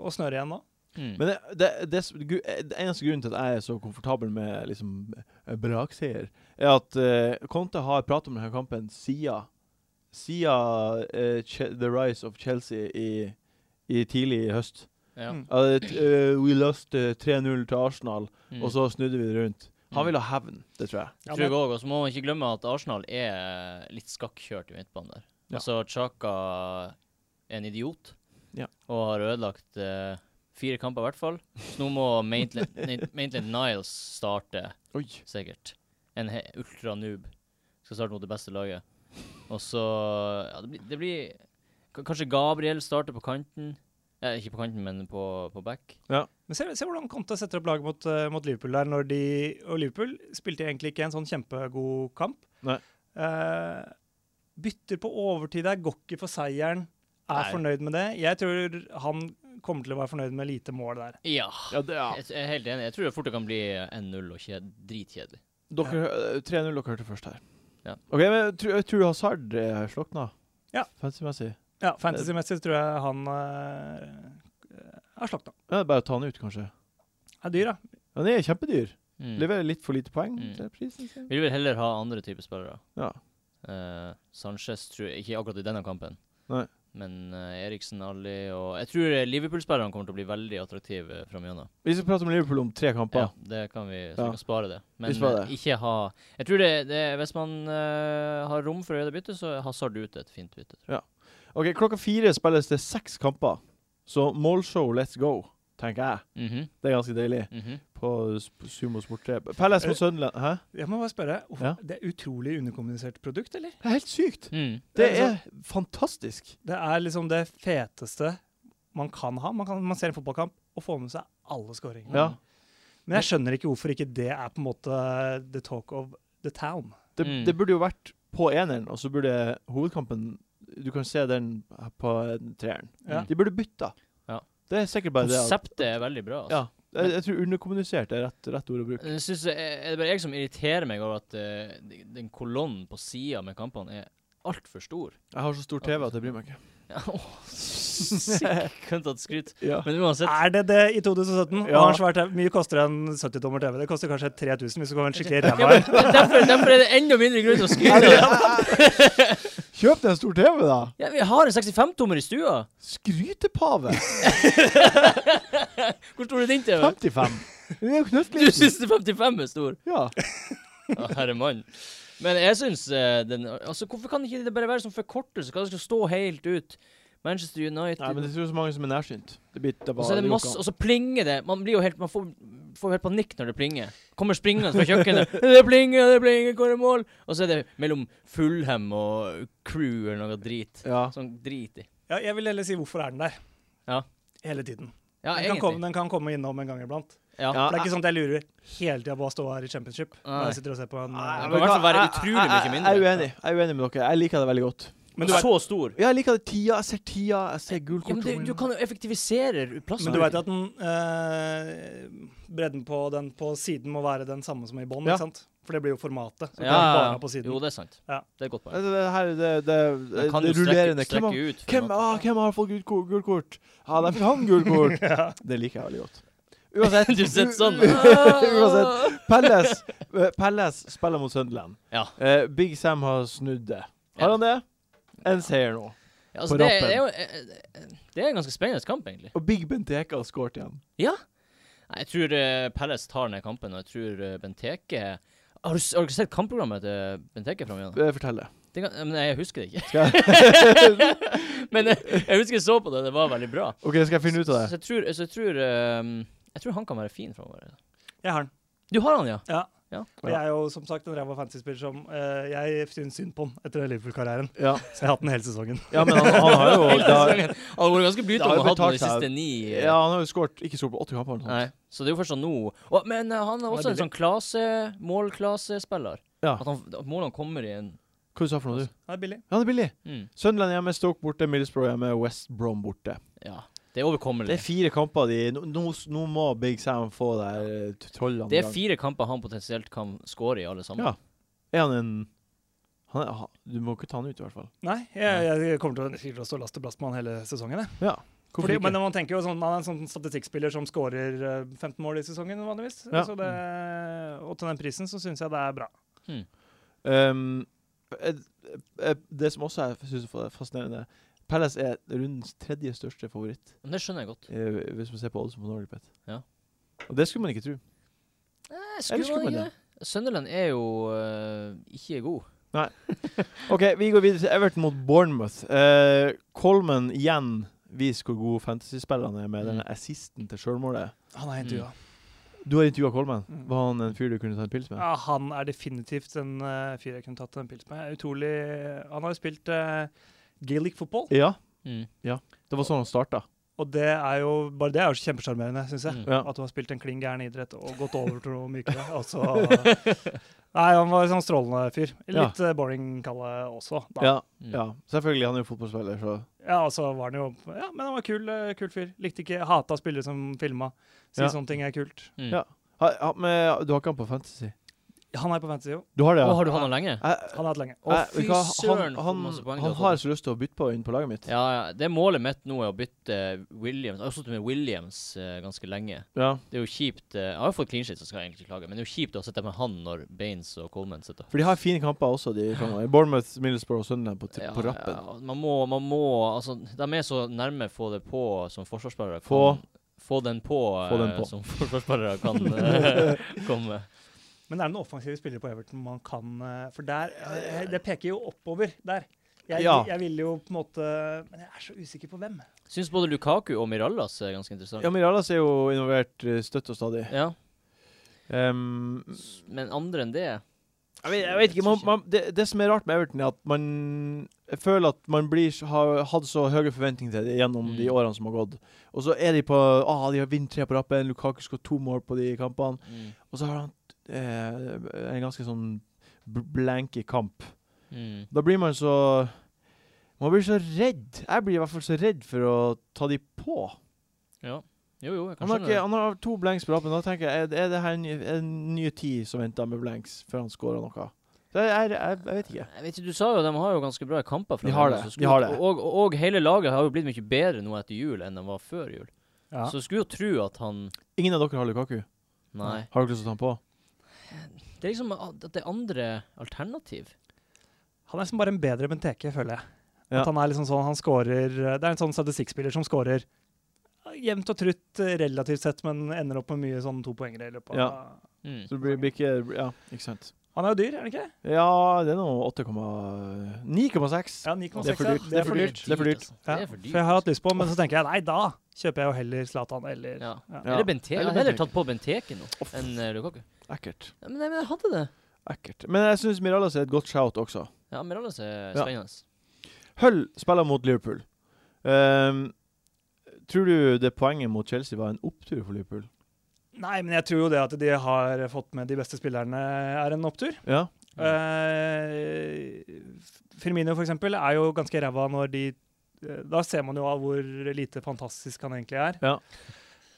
å snøre igjen nå.
Mm.
Men det, det, det, som- gru- eh, det eneste grunnen til at jeg er så komfortabel med liksom, eh, brakseier, er at eh, Conte har pratet om denne kampen siden siden eh, Che- The Rise of Chelsea i, i tidlig i høst.
ja.
Mm.
Ja, det- eh, we lost eh, 3-0 til Arsenal,
Mm.
og så snudde vi det rundt. Han
Mm.
vil ha hevn, det tror jeg.
Ja,
tror jeg
men-
også, Og så må man ikke glemme at Arsenal er eh, litt skakkjørt i midtbanen der.
Ja.
Altså, Chaka er en idiot
Ja.
og har ødelagt eh, fire kamper, i hvert fall. Så nå må Maitland Maitland Niles starte,
Oi.
sikkert. En he- ultra-noob. Skal starte mot det beste laget. Og så Ja, det blir, det blir k- Kanskje Gabriel starter på kanten. Eh, ikke på kanten, men på, på back.
Men se, se hvordan Conte setter opp laget mot, eh, mot Liverpool der. Når de, og Liverpool spilte egentlig ikke en sånn kjempegod kamp.
Nei.
Eh, bytter på overtid der, går ikke for seieren. Er
Nei.
fornøyd med det. Jeg tror han kommer til å være fornøyd med lite mål der.
Ja.
Ja, det, ja.
Jeg, jeg er helt enig. Jeg tror det fort det kan bli 1-0 og kjed, dritkjedelig.
Dere, eh, 3-0 dere hørte først her.
Ja.
Ok, men tr Tror du Hazard eh, slokna?
Ja.
Fancy-messig?
Ja, Fantasy-messig tror jeg han eh, er slakta.
Ja, det er bare å ta han ut, kanskje.
Er dyr, da.
Han er kjempedyr.
Mm.
Leverer litt for lite poeng
Mm.
til prisen sin.
Vil vel heller ha andre typer spillere.
Ja.
Eh, Sanchez tror jeg ikke akkurat i denne kampen.
Nei.
Men eh, Eriksen, Ali og Jeg tror eh, Liverpool-spillerne kommer til å bli veldig attraktive framigjennom.
Vi skal prate om Liverpool om tre kamper.
Ja, det kan vi, så
Ja.
vi kan spare det. Men
Vi sparer
eh,
det.
ikke ha Jeg tror det, det Hvis man eh, har rom for å gjøre det byttet, så er Hazard ute et fint bytte.
Ok, Klokka fire spilles det seks kamper, så målshow let's go, tenker jeg.
Mhm,
Det er ganske deilig.
mhm.
På sp- Sumo Sport 3. Palace mot Sunderland Hæ?
Jeg må bare spørre, hvorfor-
Ja.
det er utrolig underkommunisert produkt, eller?
Det er helt sykt!
Mm.
Det er fantastisk.
Det er liksom det feteste man kan ha. Man, kan, man ser en fotballkamp og får med seg alle skåringene.
Ja.
Mm.
Men jeg skjønner ikke hvorfor ikke det er på en måte the talk of the town.
Det,
Mm.
det burde jo vært på eneren, og så burde hovedkampen Du kan se den på treeren.
Ja.
De burde bytta.
Ja.
Det er sikkert bare det. at-
Konseptet er veldig bra. Altså. Eh,
Ja. Jeg, jeg tror underkommunisert er rett, rett ord å bruke.
Jeg synes, det er er det bare jeg som irriterer meg over at eh, de- den kolonnen på sida med kampene er altfor stor?
Jeg har så stor TV at jeg bryr meg ikke.
Ja, åh, Sikkert tatt skryt.
Ja.
Men uansett
Er det det i 2017?
Ja.
Hva har svært, mye koster en 70-tommer TV? Det koster kanskje 3000 hvis du
Ah,
kommer en skikkelig
ja,
ræva
men,
en.
men derfor, derfor er det enda mindre grunn til å skryte.
Kjøp deg en stor TV, da!
Ja, vi har en 65-tommer i stua!
Skrytepave!
Hvor stor er din TV?
55. Det er jo
Du
knøttliten.
syns det 55 er stor?
Ja.
Ja, herre mann. Men jeg syns eh, den Altså, hvorfor kan ikke det bare være som forkortelse? Hva skal stå helt ut? Manchester United
Nei, men det er så mange som er nærsynt. Det blir det
Og så er
bare
det masse, og så plinger det. Man blir jo helt, man får, får jo helt panikk når det plinger. Kommer springende fra kjøkkenet. Det plinger, det plinger, hvor er mål? Og så er det mellom Fulham og crew eller noe drit.
Ja.
Sånn drit i.
Ja, jeg vil heller si hvorfor er den der.
Ja.
Hele tiden.
Ja,
den, kan komme,
egentlig.
den kan komme innom en gang iblant.
Ja,
Ja. Ah,
For det er ikke sånn at jeg lurer hele tida på å stå her i championship.
Nei.
Når jeg sitter og ser på en, eh,
Nei, men
kan i hvert fall være
hva-
utrolig
jeg- jeg-
mye mindre.
Jeg er uenig Jeg er uenig med dere. Jeg liker det veldig godt.
men du
så
vet,
stor.
Ja, jeg liker det tida. Jeg ser tida, jeg ser gult
Ja, men det, du kan jo effektivisere plassen.
men du vet at den, eh, bredden på den på siden må være den samme som i bånn,
Ja.
ikke sant? For det blir jo formatet. Så
ja,
kan du bare ha på
Jo,
siden.
det er sant.
Ja.
Det er et godt poeng.
det, Altså, det, her, det, det, det,
Den kan
det
jo strekke,
rullerende. Hvem, har-
strekke ut. for
hvem,
noe.
ah, hvem har fått gult ko- gult kort? Ja, ah, der fikk han gult kort. Det liker jeg veldig godt. Uansett.
Du sitter sånn.
Uansett. Pelles, eh, Pelles spiller mot Sunderland.
Ja.
Eh, Big Sam har snudd det. Har
Ja.
han det? En seier nå.
Ja, altså,
På
det,
rappen.
det er jo eh, det er en ganske spennende kamp, egentlig.
Og Big Benteke har skåret igjen.
Nei, Jeg tror eh, Palace tar ned kampen, og jeg tror eh, Benteke har du, s- har du ikke sett kampprogrammet til Benteke framover?
Eh, Fortell det.
Men jeg husker det ikke.
Skal jeg,
Men eh, jeg husker jeg så på det, det var veldig bra.
ok, skal jeg finne ut av det?
Så jeg tror, så jeg, tror eh, jeg tror han kan være fin framover.
Jeg har den.
Du har han, ja?
Ja.
Ja.
Det er jo som sagt en ræva fantasyspiller som eh, jeg syns synd på den etter Liverpool-karrieren.
Ja,
Så jeg har hatt den hele sesongen.
ja men han, han har jo
Hele
da,
sesongen. Han har vært
Det
ganske
har
blytung
jo
og hatt den de
betalt seg.
siste ni. eh,
Ja, han har jo skåret ikke skåret på 80 kamper. eller noe
Nei,
sånt.
så det er jo først sånn nå. Å, men eh, han er også en sånn klase, målklasespiller.
Ja.
At, han, at målene kommer i en
Hva du sa for noe, du?
Det er billig.
Ja, det er billig.
mm,
Sunderland hjemme, Stoke borte, Middlesbrough hjemme, West Brom borte.
Ja. Det er overkommelig.
Det er fire kamper de Nå, nå, nå må Big Sam få de eh, t- trollene. i
Det er
gang.
fire kamper han potensielt kan score i, alle sammen.
Ja. Er han en han er, ha- Du må ikke ta han ut, i hvert fall.
Nei, jeg, jeg kommer til å, sikkert til å stå last til blast med han hele sesongen. Jeg.
Ja. Hvorfor
Fordi,
ikke?
men man tenker jo sånn, han er en sånn statistikkspiller som skårer eh, 15 mål i sesongen vanligvis.
Ja.
Så det, og til den prisen så syns jeg det er bra.
Ehm, eh, eh, det som også jeg syns er fascinerende Palace er rundens tredje største favoritt,
Men det skjønner jeg godt.
eh, hvis man ser på oddsen på Norwegian.
Ja.
Og det skulle man ikke tro.
Nei,
Eller skulle man
ikke det? Sunderland er jo øh, ikke god.
OK, vi går videre til Everton mot Bournemouth. Eh, Coleman igjen viser hvor god fantasyspilleren er med
Mm.
denne assisten til sjølmålet.
Han er intervjua.
Du har intervjua Coleman.
Mm.
Var han en fyr du kunne ta en pils med?
Ja, han er definitivt en eh, fyr jeg kunne tatt en pils med. Utrolig Han har jo spilt eh, Gaelic football,
Ja,
Mm.
det var sånn han starta.
og det er jo bare det er jo kjempesjarmerende, syns jeg.
Mm.
Ja.
At du har spilt en klin gæren idrett og gått over til noe mykere. Og så Nei, han var en sånn strålende fyr. Litt eh, boring, kalle også. Da.
Ja,
Mm.
ja, selvfølgelig. Han er jo fotballspiller, så
Ja, og så var han jo Ja, men han var kul, eh, kul fyr. Likte ikke Hata spillere som filma. Si
Ja.
sånne ting er kult.
Mm.
Ja. ha, ha, men, Du har ikke han på Fantasy?
Han er på fantasy, jo.
Du har det,
Å,
ja?
har du hatt den lenge?
Jeg-
Han har hatt lenge.
Å,
jeg-
fy
vet du hva,
søren, for
Han,
masse
han,
poeng du
han
har
har
fått.
så lyst til å bytte på inn på laget mitt.
Ja, ja. Det er målet mitt nå, er å bytte Williams. Jeg har sittet med Williams eh, ganske lenge.
Ja.
Det er jo kjipt eh, Jeg har jo fått clean shit, så skal jeg egentlig ikke klage, men det er jo kjipt å sitte med han når Baines og Coleman sitter
For de har fine kamper også, de framover. Bournemouth, Middlesbrough og Sunderland på, tri-
Ja,
på rappen.
ja, man må, man må Altså, de er så nærme få det på som forsvarsspillere.
Få-
kan- få den på,
Få den
eh,
på.
som forsvarsspillere kan eh, komme.
Men er det noen offensive spillere på Everton man kan eh, For der eh, Det peker jo oppover der. Jeg,
Ja.
jeg vil jo på en måte Men jeg er så usikker på hvem.
Syns både Lukaku og Mirallas er ganske interessant.
Ja, Miralas er jo involvert eh, støtt og stadig.
Ja,
Ehm,
s- men andre enn det
jeg, vet, jeg vet ikke. Man, man, det, det som er rart med Everton, er at man jeg føler at man blir, så- har hatt så høye forventninger til det gjennom
Mm.
de årene som har gått. Og så er de på ah, De har vunnet tre på rappen, Lukaku skåret to mål på de kampene.
mm.
Og så har han eh, en ganske sånn bl- blanke kamp.
Mm.
Da blir man så Man blir så redd. Jeg blir i hvert fall så redd for å ta de på.
Ja. Jo, jo, jeg kan
Han har,
skjønne
ikke,
det.
han har to blanks på rappen. Da tenker jeg, er, er det her en, ny- en nye tid som venter med blanks før han scorer noe? Så jeg, jeg, jeg, jeg vet ikke.
Jeg vet ikke, Du sa jo de har jo ganske bra kamper.
De har
dem,
det,
så
de har
skulle-
det.
Og, og, og hele laget har jo blitt mye bedre nå etter jul enn de var før jul. Så jeg skulle jo tro at han
Ingen av dere har Lukaku.
Nei.
Har dere lyst til å ta han på?
Det er liksom at det er andre alternativ.
Han er liksom bare en bedre Benteke, føler jeg.
Ja.
At han er liksom sånn, han scorer, Det er en sånn statistikkspiller som scorer jevnt og trutt eh, relativt sett, men ender opp med mye sånn topoengere i løpet av
Ja.
Mm.
Så det blir, blir ikke Ja, ikke sant.
Han er jo dyr, er han ikke? det?
Ja, det er nå 8,9,6. 9,6.
Ja, 9,6.
Det er for
ja.
dyrt. Det er for dyrt. Det er for dyrt.
altså.
Ja,
Det er for dyrt.
For jeg har hatt lyst på, men så tenker jeg nei, da kjøper jeg jo heller Zlatan eller
Ja.
Ja.
Ja.
Eller Benteke. Jeg
Eller
har heller
Benteke.
tatt på Benteke nå
Uff.
enn eh, Lukaku.
Ekkelt.
Ja, men, nei, men jeg hadde det.
Ekkelt. Men jeg syns Miralas er et godt shout også.
Ja, Mirallas er
Ja.
spennende.
Hull spiller mot Liverpool. Ehm, tror du det poenget mot Chelsea var en opptur for Liverpool?
Nei, men jeg tror jo det at de har fått med de beste spillerne, er en opptur.
Ja.
Mm.
Eh, Firmino for eksempel er jo ganske ræva når de eh, Da ser man jo av hvor lite fantastisk han egentlig er.
Ja.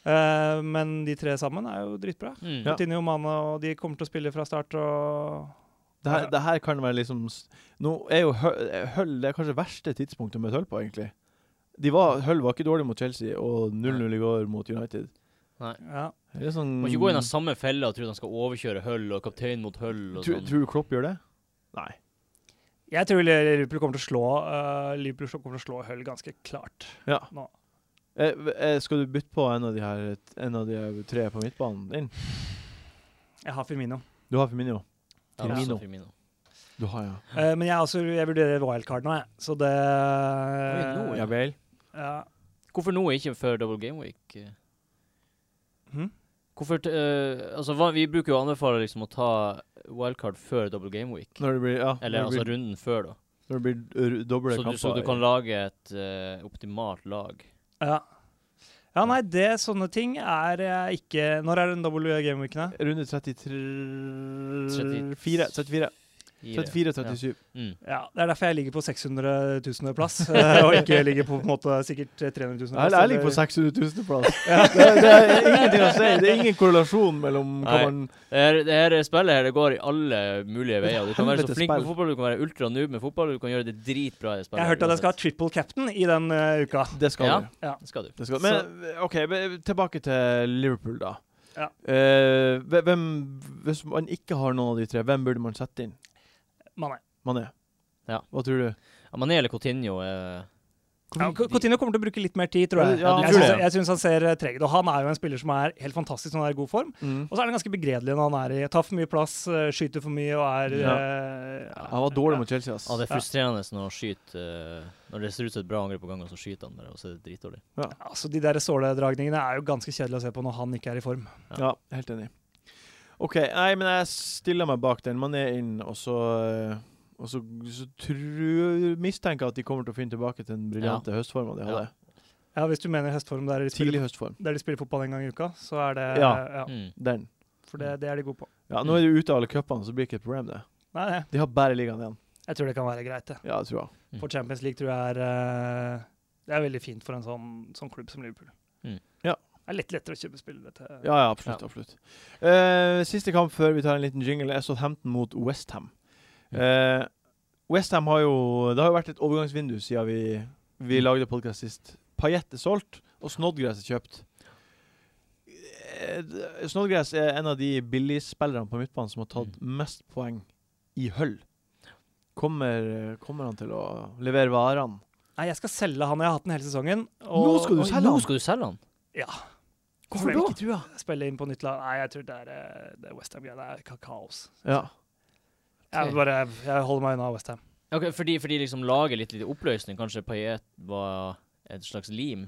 Eh, men de tre sammen er jo dritbra.
Mm.
Ja.
Coutinho, Mane og de kommer til å spille fra start og
Det her, det her kan være liksom s- Nå er jo Hø- Hull det er kanskje verste tidspunktet å møte Hull på, egentlig. De var, Hull var ikke dårlig mot Chelsea, og 0-0 i går mot United.
ja.
Det er sånn
Må ikke gå i den samme fella og tro at han skal overkjøre Hull og kaptein mot Hull og
Tror
sånn.
tror du Klopp gjør det? Nei.
Jeg tror Liverpool kommer til å slå eh, Liverpool kommer til å slå Hull ganske klart.
Ja.
Nå.
Eh, v- eh, skal du bytte på en av de her En av de her tre på midtbanen din?
Jeg har Firmino.
Du har Firmino.
Ja, også
Firmino.
Firmino.
Du har, ja.
Eh, men jeg, er også, jeg vurderer wildcard nå, jeg. Så det
nå,
Eh, Ja vel.
ja.
Hvorfor nå, ikke før double game week?
Hm?
Hvorfor t eh, Altså, hva, vi bruker jo å anbefale liksom å ta wildcard før double game week.
Når det blir Ja.
Eller
når, det
altså
blir,
runden før, da.
når det blir r- doble
Så du,
kamper.
så du kan lage et eh, optimalt lag.
Ja. ja, nei, det sånne ting er eh, ikke Når er den double gameweeken, da?
Runde 33
Tretti-
4, 34.
i det.
34-37.
Mm.
Ja, det er derfor jeg ligger på 600 000 plass, eh, og ikke ligger på, på en måte sikkert 300
Jeg,
000 plass.
jeg ligger på 600 000 plass. det, det er ingenting å si. Det er ingen korrelasjon mellom hva
Nei.
man
Det, her, det her spillet her, det går i alle mulige veier. Du kan være så
Helvete
flink
spill.
med fotball, du kan være ultra noob med fotball, du kan gjøre det dritbra i spillet.
Jeg hørte at jeg skal ha
uansett.
triple captain i den eh, uka.
Det skal
Ja.
du.
Det skal du.
Det skal. Men OK, men eh, tilbake til Liverpool, da.
Ja.
Eh, hve- hvem, hvis man ikke har noen av de tre, hvem burde man sette inn?
Mané.
Mané.
Ja.
Hva tror du?
Ja, Mané eller Coutinho eh,
Ja, Co- Coutinho kommer til å bruke litt mer tid, tror jeg.
Ja,
du
jeg,
tror
syns,
det.
jeg syns han ser eh, treg ut. Og han er jo en spiller som er helt fantastisk når han er i god form.
Mm.
Og så er han ganske begredelig når han er i Tar for mye plass, eh, skyter for mye og er
Ja.
eh, ja.
Han var dårlig mot Chelsea, ass.
Ja, det er frustrerende når han skyter eh, Når det ser ut som et bra angrep på gangen, så skyter han bare, og så er det dritdårlig.
Altså, De der såledragningene er jo ganske kjedelig å se på når han ikke er i form.
Ja. helt enig. OK, nei, men jeg stiller meg bak den. Man er inn, og så eh, og så, så tror, mistenker jeg at de kommer til å finne tilbake til den briljante høstformen de hadde.
Ja, Hvis du mener høstform der de spiller,
Tidlig høstform.
der de spiller fotball en gang i uka, så er det Ja.
Ja.
Mm.
Den.
for det, det er de gode på.
Ja, Nå er de ute av alle cupene, så blir det ikke et problem, det.
Nei, nei,
De har bare ligaen igjen.
jeg tror det kan være greit, det.
Ja, det tror jeg.
For Champions League tror jeg er eh, Det er veldig fint for en sånn, sånn klubb som Liverpool.
Mm.
Ja.
Det er litt lettere å kjøpe spillere til
Ja, ja, absolutt. absolutt. Eh, siste kamp før vi tar en liten jingle, er Southampton mot Westham. Uh, Westham har jo Det har jo vært et overgangsvindu siden vi, vi lagde podkast sist. Paillette er solgt, og Snodgrass er kjøpt. Eh, d- Snodgrass er en av de billigspillerne på midtbanen som har tatt mest poeng i høll. Kommer, kommer han til å levere varene?
Nei, jeg skal selge han jeg har hatt den hele sesongen.
Nå skal du
Oi,
selge
Nå
han.
skal du selge han?
Ja.
Hvorfor
da?
ikke trua?
Spille inn på nytt lag. Nei, jeg tror det er, eh, det er Westham-greiene. Det er ka- kaos.
Ja.
Jeg, bare, jeg holder meg unna Westham.
Ok, fordi, fordi liksom laget litt litt i oppløsning. Kanskje Payet var et slags lim?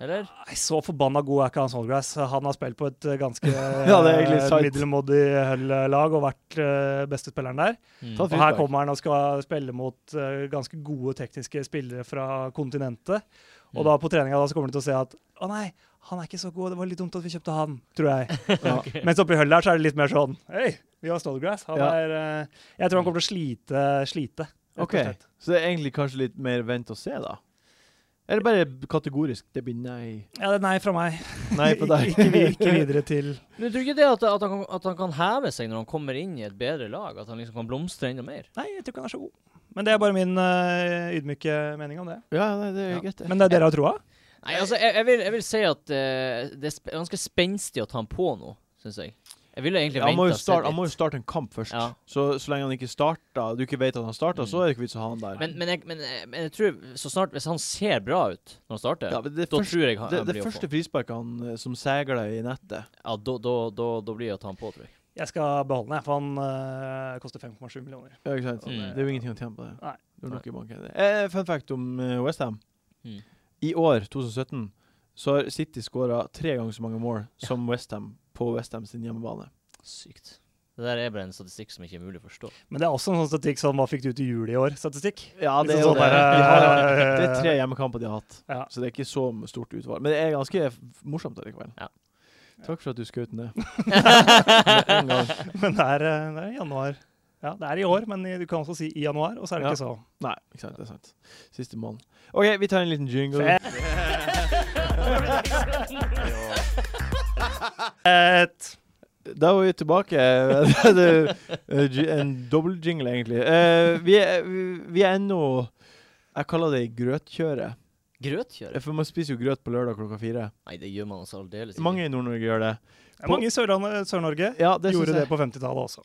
Eller?
Nei, Så forbanna god er ikke Hans Holgrass. Han har spilt på et eh, ganske
det er egentlig
eh,
sant.
middelmådig Hull-lag og vært eh, beste spilleren der.
Ta
Mm.
Og her
feedback.
kommer han og skal spille mot eh, ganske gode tekniske spillere fra kontinentet. Og
Mm.
da på treninga da så kommer han til å se at å nei, han er ikke så god, det var litt dumt at vi kjøpte han, tror jeg.
Ja.
Mens oppi Hull der så er det litt mer sånn hei, vi har Snodgrass. Han
Ja.
er eh, Jeg tror han kommer til å slite. slite rett og
Ok,
slett.
så det er egentlig kanskje litt mer vent og se, da? Eller bare kategorisk det blir nei?
Ja, det er nei fra meg.
Nei på deg.
ikke, vi- ikke videre til
Men tror du ikke det at, at, han kan, at han kan heve seg når han kommer inn i et bedre lag? At han liksom kan blomstre enda mer?
Nei, jeg tror ikke han er så god. Men det er bare min eh, ydmyke mening om det.
Ja, nei, det er
Ja.
greit, det.
Men det er dere har troa?
Nei, altså, jeg, jeg, vil, jeg vil si at eh, det er sp ganske spenstig å ta han på nå, syns jeg. Jeg ville egentlig
Ja, han, må
vente
jo
og sett
starte, han må jo
litt.
starte en kamp først.
Ja. Mm.
Så, så lenge han ikke starta, du ikke vet at han starta, så er det ikke vits å ha han der.
Men, men, jeg, men, jeg, men jeg tror så snart Hvis han ser bra ut når han starter,
ja, men det
da
første,
tror jeg han,
det,
han
det
blir å
første
få.
frisparket han eh, som segla i nettet
Ja, da, da, da, da blir jeg å ta han på, tror jeg.
Jeg skal beholde den, jeg, for han eh, koster 5,7 millioner.
ja, ikke sant?
Mm.
Det er jo ingenting å tjene på det.
Nei.
Det er nok i banken. Eh, fun fact om eh, West Westham.
Mm.
I år, 2017, så har City skåra tre ganger så mange mål som Westham på Westham sin hjemmebane.
Sykt. Det der er bare en statistikk som ikke er mulig å forstå.
Men det er også en sånn statistikk som hva fikk du til jul i år? Statistikk.
Ja, det er
Liksom
jo
sånn
det. De
der,
har-
eh,
Det er tre hjemmekamper de har hatt,
Ja.
så det er ikke så stort utvalg. Men det er ganske f- morsomt allikevel.
Ja.
Takk for at du skjøt ned. Med en gang.
Men det er, eh, det er januar. Ja, det er i år, men i- du kan også si i januar, og så er det
Ja.
ikke så.
Nei, ikke sant, det er sant. Siste måned. OK, vi tar en liten jingle.
Et,
Da var vi tilbake. Det er, eh, ji- en dobbel jingle, egentlig. Eh, vi, er, vi- vi er ennå Jeg kaller det grøtkjøret.
Grøtkjøre?
For man spiser jo grøt på lørdag klokka fire.
Nei, det gjør man altså aldeles ikke.
Mange i Nord-Norge gjør det.
det er mange i Sørland- Sør-Norge
Ja, det synes
gjorde
jeg.
det på 50-tallet også.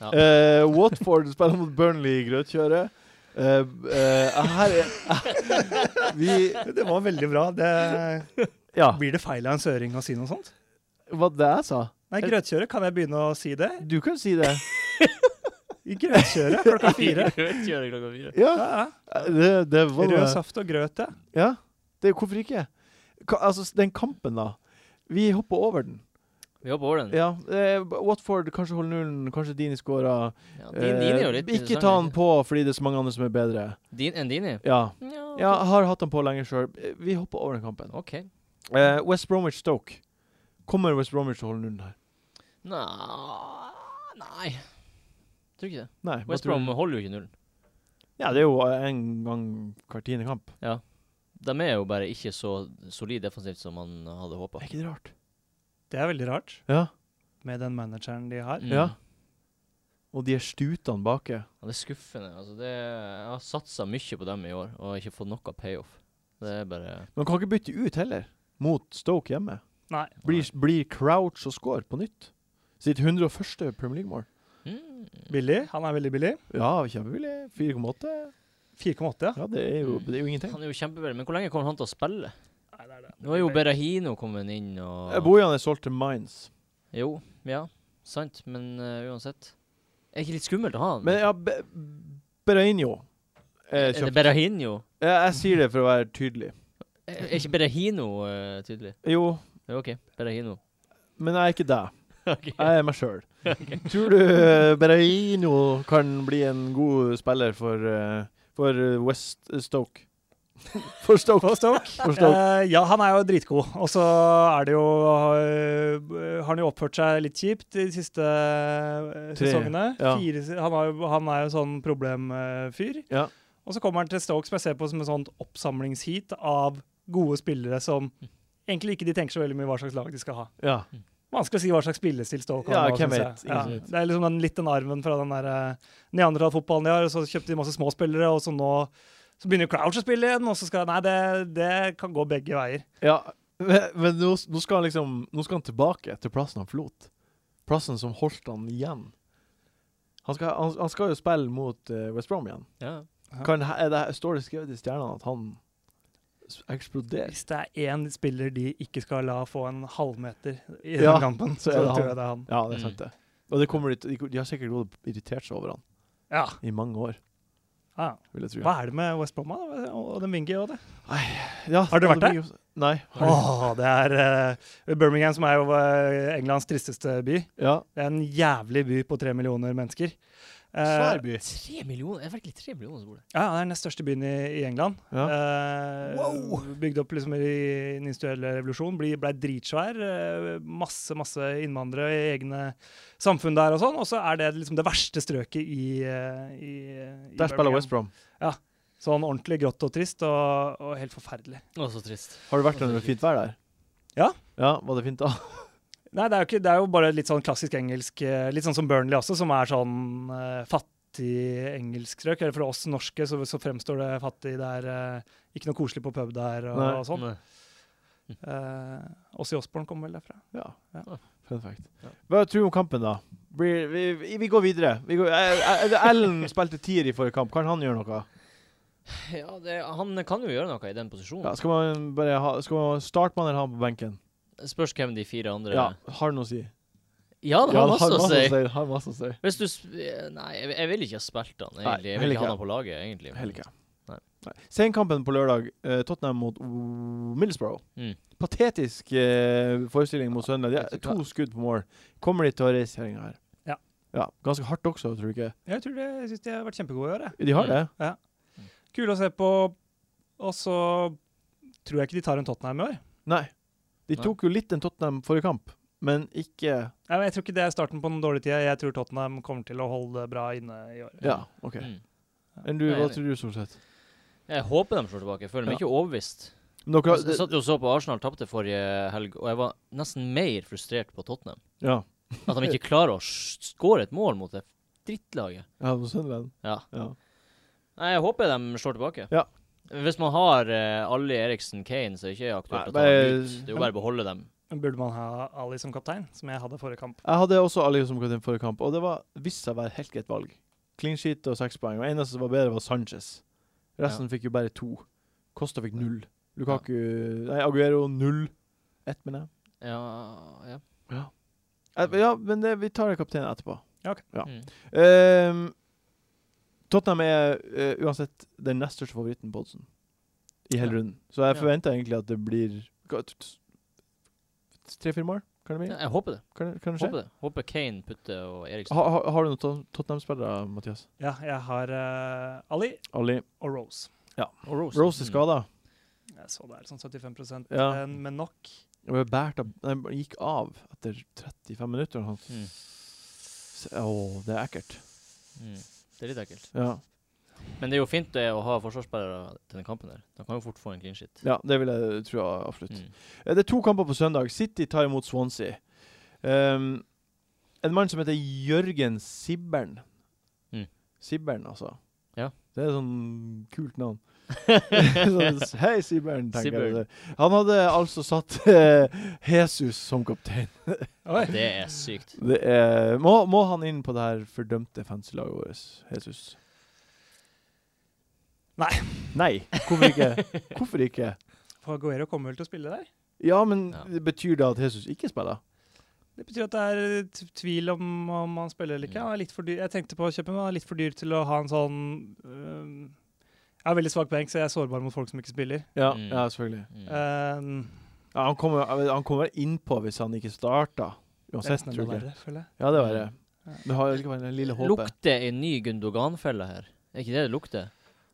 Ja.
Eh, Watford spiller mot Burnley i grøtkjøret. Eh, b- eh, her er Vi
Det var veldig bra. Det,
Ja,
blir det feil av en søring å si noe sånt?
hva det jeg sa?
Nei, grøtkjøret, kan jeg begynne å si det?
Du kan si det.
I grøtkjøret klokka fire.
Grøtkjøre klokka fire.
Ja,
Ja,
ja.
det, det var
Rød
det.
saft og grøt, ja.
Ja, det, hvorfor ikke? Ka, altså, s- den kampen, da. Vi hopper over den.
Vi hopper over den.
Ja, eh, b- Watford kanskje holder nullen, kanskje Dini scorer.
Ja, din, din er jo litt
Eh, ikke ta han
interessant.
på fordi det er så mange andre som er bedre.
Din, enn dine?
Ja,
Ja,
ja har hatt han på lenge sjøl. Vi hopper over den kampen.
OK.
Eh, West Bromwich Stoke. Kommer West Bromwich til å holde nullen her?
Nå, nei. Tror ikke det.
Nei. hva
West
tror du?
Brom holder jo ikke nullen.
Ja, det er jo en gang hver tiende kamp.
De er jo bare ikke så solid defensivt som man hadde håpa.
Er ikke det rart?
Det er veldig rart,
Ja. Mm.
med den manageren de
Mm.
har.
Ja. Og de er stutene baki.
Det er skuffende. Altså, det, jeg har satsa mye på dem i år og ikke fått noe payoff. Det er bare
Man kan ikke bytte ut heller, mot Stoke hjemme.
Nei.
Blir, blir Crouch og score på nytt? Sitt 101. Premier League-mål.
Mm.
Billig. Han er veldig billig.
Ja, kjempevillig. 4,8.
4,8, ja.
Ja, det er jo, det er jo ingenting.
Han er jo kjempebra, men hvor lenge kommer han til å spille?
Nei, det er det.
Nå er jo Berahino kommet inn og
Eh, Bojan er solgt til Mines.
Jo, ja. Sant, men eh, uansett. Er ikke litt skummelt å ha han?
Men ja, Be Berainho er
er det
kjøpt.
Berahinho?
Jeg, jeg sier det for å være tydelig.
Er er ikke Berahino eh, tydelig?
Jo,
Jo, OK. Berahino.
men jeg er ikke deg.
Ok.
Jeg er meg sjøl. Tror du eh, Berahino kan bli en god spiller for, eh, for eh, West eh, Stoke? For Stoke.
På Stoke?
For Stoke.
Eh, ja, han er jo dritgod. Og så er det jo eh, Har han jo oppført seg litt kjipt de siste eh,
Tre,
sesongene.
ja.
Fire, se- han, har, jo- han er jo sånn problemfyr.
Ja.
sånn Og så kommer han til Stoke, som jeg ser på som et sånt oppsamlingsheat av gode spillere som egentlig ikke de tenker så veldig mye hva slags lag de skal ha.
Ja.
Vanskelig å si hva slags spillestil Stoke
Ja,
har. nå,
hvem
synes
vet?
jeg. Ja,
Ingen vet.
det er liksom den, litt den arven fra den der eh, neandertalfotballen de har. og Så kjøpte de masse småspillere, og så nå så begynner Crouch å spille igjen. Og så skal Nei, det, det kan gå begge veier.
ja. Men, men nå, nå skal han liksom Nå skal han tilbake til plassen han forlot. Plassen som holdt han igjen. Han skal, han, han skal jo spille mot eh, West Brom igjen.
Ja.
Ja.
Kan, er det, står det skrevet i stjernene at han s- eksploderer?
Hvis det er én spiller de ikke skal la få en halvmeter i
Ja,
den kampen,
så
så,
er det
tror
han.
jeg det er han.
Ja, det
Mm.
er sant, det. Og det kommer de, til- de, de har sikkert gått og irritert seg over han
Ja.
i mange år,
ja.
vil jeg tro.
Hva er det med West Brom da? og og den Wingy og det?
Ja,
Har du vært
det blir jo- Nei.
Åh, det er eh, Birmingham, som er jo eh, Englands tristeste by.
Ja.
Det er en jævlig by på tre millioner mennesker. Eh,
Svær by.
Tre millioner? Det er virkelig tre millioner som bor der.
Ja, det er den nest største byen i, i England.
Ja.
Eh,
Wow!
Bygd opp liksom i den industrielle revolusjonen. Ble, ble dritsvær. eh, masse masse innvandrere i egne samfunn der og sånn. Og så er det liksom det verste strøket i, eh, i, i
Der spiller
Birmingham.
West Brom.
Sånn ordentlig grått og trist og, og helt forferdelig.
Å, så trist.
Har du vært under fint vær der?
Ja.
Ja, Var det fint da?
Nei, det er jo, ikke, det er jo bare litt sånn klassisk engelsk, eh, litt sånn som Burnley også, som er sånn eh, fattig engelsk strøk. Eller for oss norske så, så fremstår det fattig. Det er eh, ikke noe koselig på pub der og,
Nei.
og sånn.
Nei.
Eh, Åssi Osborn kommer vel derfra.
Ja.
Ja.
Fun fact.
Ja.
Hva tror du om kampen, da? Blir, vi, vi- vi går videre. Vi går, eh, eh, Ellen spilte tier i forrige kamp. Kan han gjøre noe?
Ja, det, han kan jo gjøre noe i den posisjonen.
eh. Ja, skal man bare ha Skal man starte med han eller ha han på benken?
Spørs hvem de fire andre
Ja, har det noe å si?
ja det har masse å si.
si. Har masse å si.
Hvis du sp eh, Nei, jeg, jeg vil ikke ha spilt han,
Nei,
egentlig. Jeg
heller
vil ikke ha
ikke.
han på laget, egentlig.
Heller ikke.
Nei.
Nei. Senkampen på lørdag, eh, Tottenham mot O- Middlesbrough.
Mm.
Patetisk eh, forestilling mot Sunderland. De har
Vet du
to
hva?
skudd på mål. Kommer de til å reise kjerringa her?
Ja.
ja. Ganske hardt også, tror du ikke?
Jeg tror det, jeg syns de har vært kjempegode i år. jeg.
De har
Mm.
det.
Kule å se på. Og så tror jeg ikke de tar en Tottenham i år.
Nei. De
Nei.
tok jo litt en Tottenham forrige kamp, men ikke
Nei, men jeg tror ikke det er starten på den dårlige tida. Jeg tror Tottenham kommer til å holde det bra inne i år.
Ja, OK.
Mm.
Enn du,
Jeg er
hva
enig.
tror du, Solseth?
Jeg håper de slår tilbake. Jeg føler meg
Ja.
ikke overbevist.
Men Dere,
Altså, Jeg satt jo og så på Arsenal tapte forrige helg, og jeg var nesten mer frustrert på Tottenham.
ja.
At de ikke klarer å s- skåre et mål mot det drittlaget.
ja, på Sunderland.
Ja.
Ja.
Nei, jeg håper de slår tilbake.
Ja.
Hvis man har uh, Ali Eriksen Kane, så er det ikke
Nei,
aktuelt å ta dem
bare-
ut. Det er jo bare å beholde dem.
Burde man ha Ali som kaptein, som jeg hadde forrige kamp?
Jeg hadde også Ali som kaptein forrige kamp, og det var viste seg å være helt greit valg. Clean sheet og seks poeng. Og eneste som var bedre, var Sanchez. Resten fikk jo bare to. Costa fikk null. Lukaku Nei, Aguero null. Ett, mener jeg.
Ja, ja.
Eh, Ja, men det, vi tar kapteinen etterpå. Ja.
Mm.
Ehm, Tottenham er eh, uansett den nest største favoritten på oddsen i hele
Ja.
runden. Så jeg
Ja.
forventer egentlig at det blir tre-fire mål. Kan det bli?
ja. Jeg håper det.
Kan, det- kan det skje?
Håper det. Håper Kane, Putte og Eriksen.
Ha, ha, har du noen Tot- Tottenham-spillere, Mathias?
Ja, jeg har eh, Ali
Ali.
og Rose.
Og Rose.
Ah, Rose er
Mm.
skada.
Jeg så det er sånn 75
Ja.
eh, men nok.
Og ble båret av Nei, han gikk av etter 35 minutter. og Han.
Mm.
s- Åh, det er ekkelt.
Mm. Det er litt ekkelt.
Ja.
Men det er jo fint det å ha forsvarsspillere til den kampen der. De kan jo fort få en clean shit.
ja, det vil jeg tro absolutt.
Mm.
Eh, Det er to kamper på søndag. City tar imot Swansea. Ehm, en mann som heter Jørgen Sibbern.
Mm.
Sibbern, altså.
Ja.
Det er sånn kult navn. sånn, Hei, Sibbern, tenker jeg.
Sibbern.
det. Han hadde altså satt eh, Jesus som kaptein.
Oi.
Det er sykt.
Det er, må, må han inn på det her fordømte fancy-laget vårt, Jesus?
Nei.
Nei, hvorfor ikke? Hvorfor ikke?
For Aguero kommer vel til å spille der?
Ja, men
Ja.
det betyr det at Jesus ikke spiller?
Det betyr at det er t- tvil om om han spiller eller ikke. Han er litt for dyr. Jeg tenkte på å kjøpe, men han er litt for dyr til å ha en sånn øhm, Jeg har veldig svak benk, så jeg er sårbar mot folk som ikke spiller. Ehm,
Ja,
Mm.
ja selvfølgelig.
Mm.
Eh, Øhm,
Ja, han kommer han kommer innpå hvis han ikke starter.
det er
Uansett,
nesten
tror
enda
jeg.
verre, føler jeg.
Ja, det var det.
Ja.
Det har likevel det lille håpet.
Lukter en ny Gundogan-felle her? Er ikke det det lukter?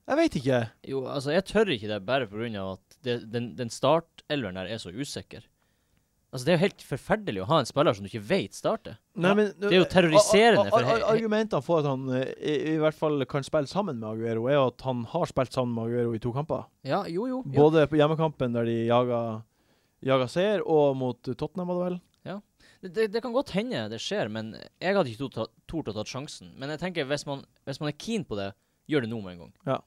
Jeg veit ikke.
Jo, altså, jeg tør ikke det bare pga. at det, den, den startelveren der er så usikker. Altså, Det er jo helt forferdelig å ha en spiller som du ikke vet starter.
Nei,
Ja,
men,
det er jo terroriserende for
Ar- ar-
he-
ar- Argumentene for at han eh, i, i hvert fall kan spille sammen med Aguero, er jo at han har spilt sammen med Aguero i to kamper.
Ja, jo, jo. jo.
Både på hjemmekampen, der de jaga jaga seier, og mot Tottenham, var det vel?
Det, det, det kan godt hende det skjer, men jeg hadde ikke tot- tort å ta sjansen. Men jeg tenker hvis man, hvis man er keen på det, gjør det nå med en gang.
Ja.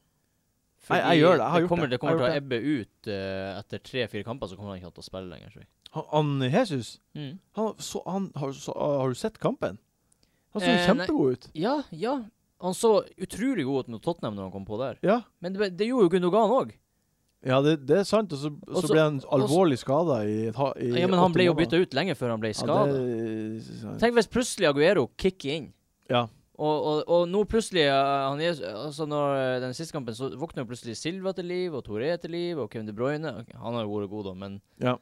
Fordi
Jeg- jeg gjør det, jeg har gjort
kommer,
det,
Det
jeg
kommer til
har
å ebbe ut eh, etter tre-fire kamper, så kommer han ikke til å spille lenger. Tror jeg.
Han, han Jesus,
Mm.
han, så, han har, så, har du sett kampen? Han så
Eh, nei.
kjempegod ut.
Ja, ja. Han så utrolig god ut mot Tottenham når han kom på der.
Ja,
Men det, det gjorde jo Gundogan òg.
ja det, det er sant. Og så,
Og så-
så ble han
og så-
alvorlig skada i, et ha- i
Ja, men han ble jo bytta ut lenge før han ble skada.
Ja, det,
Tenk hvis plutselig Aguero kicker inn.
Ja.
Og, og, og nå plutselig eh, han er, altså når eh, Den siste kampen så våkner jo plutselig Silva til liv, og Toré til liv, og Kevin De Bruyne. Ok, han har jo vært god, da, men
Ja.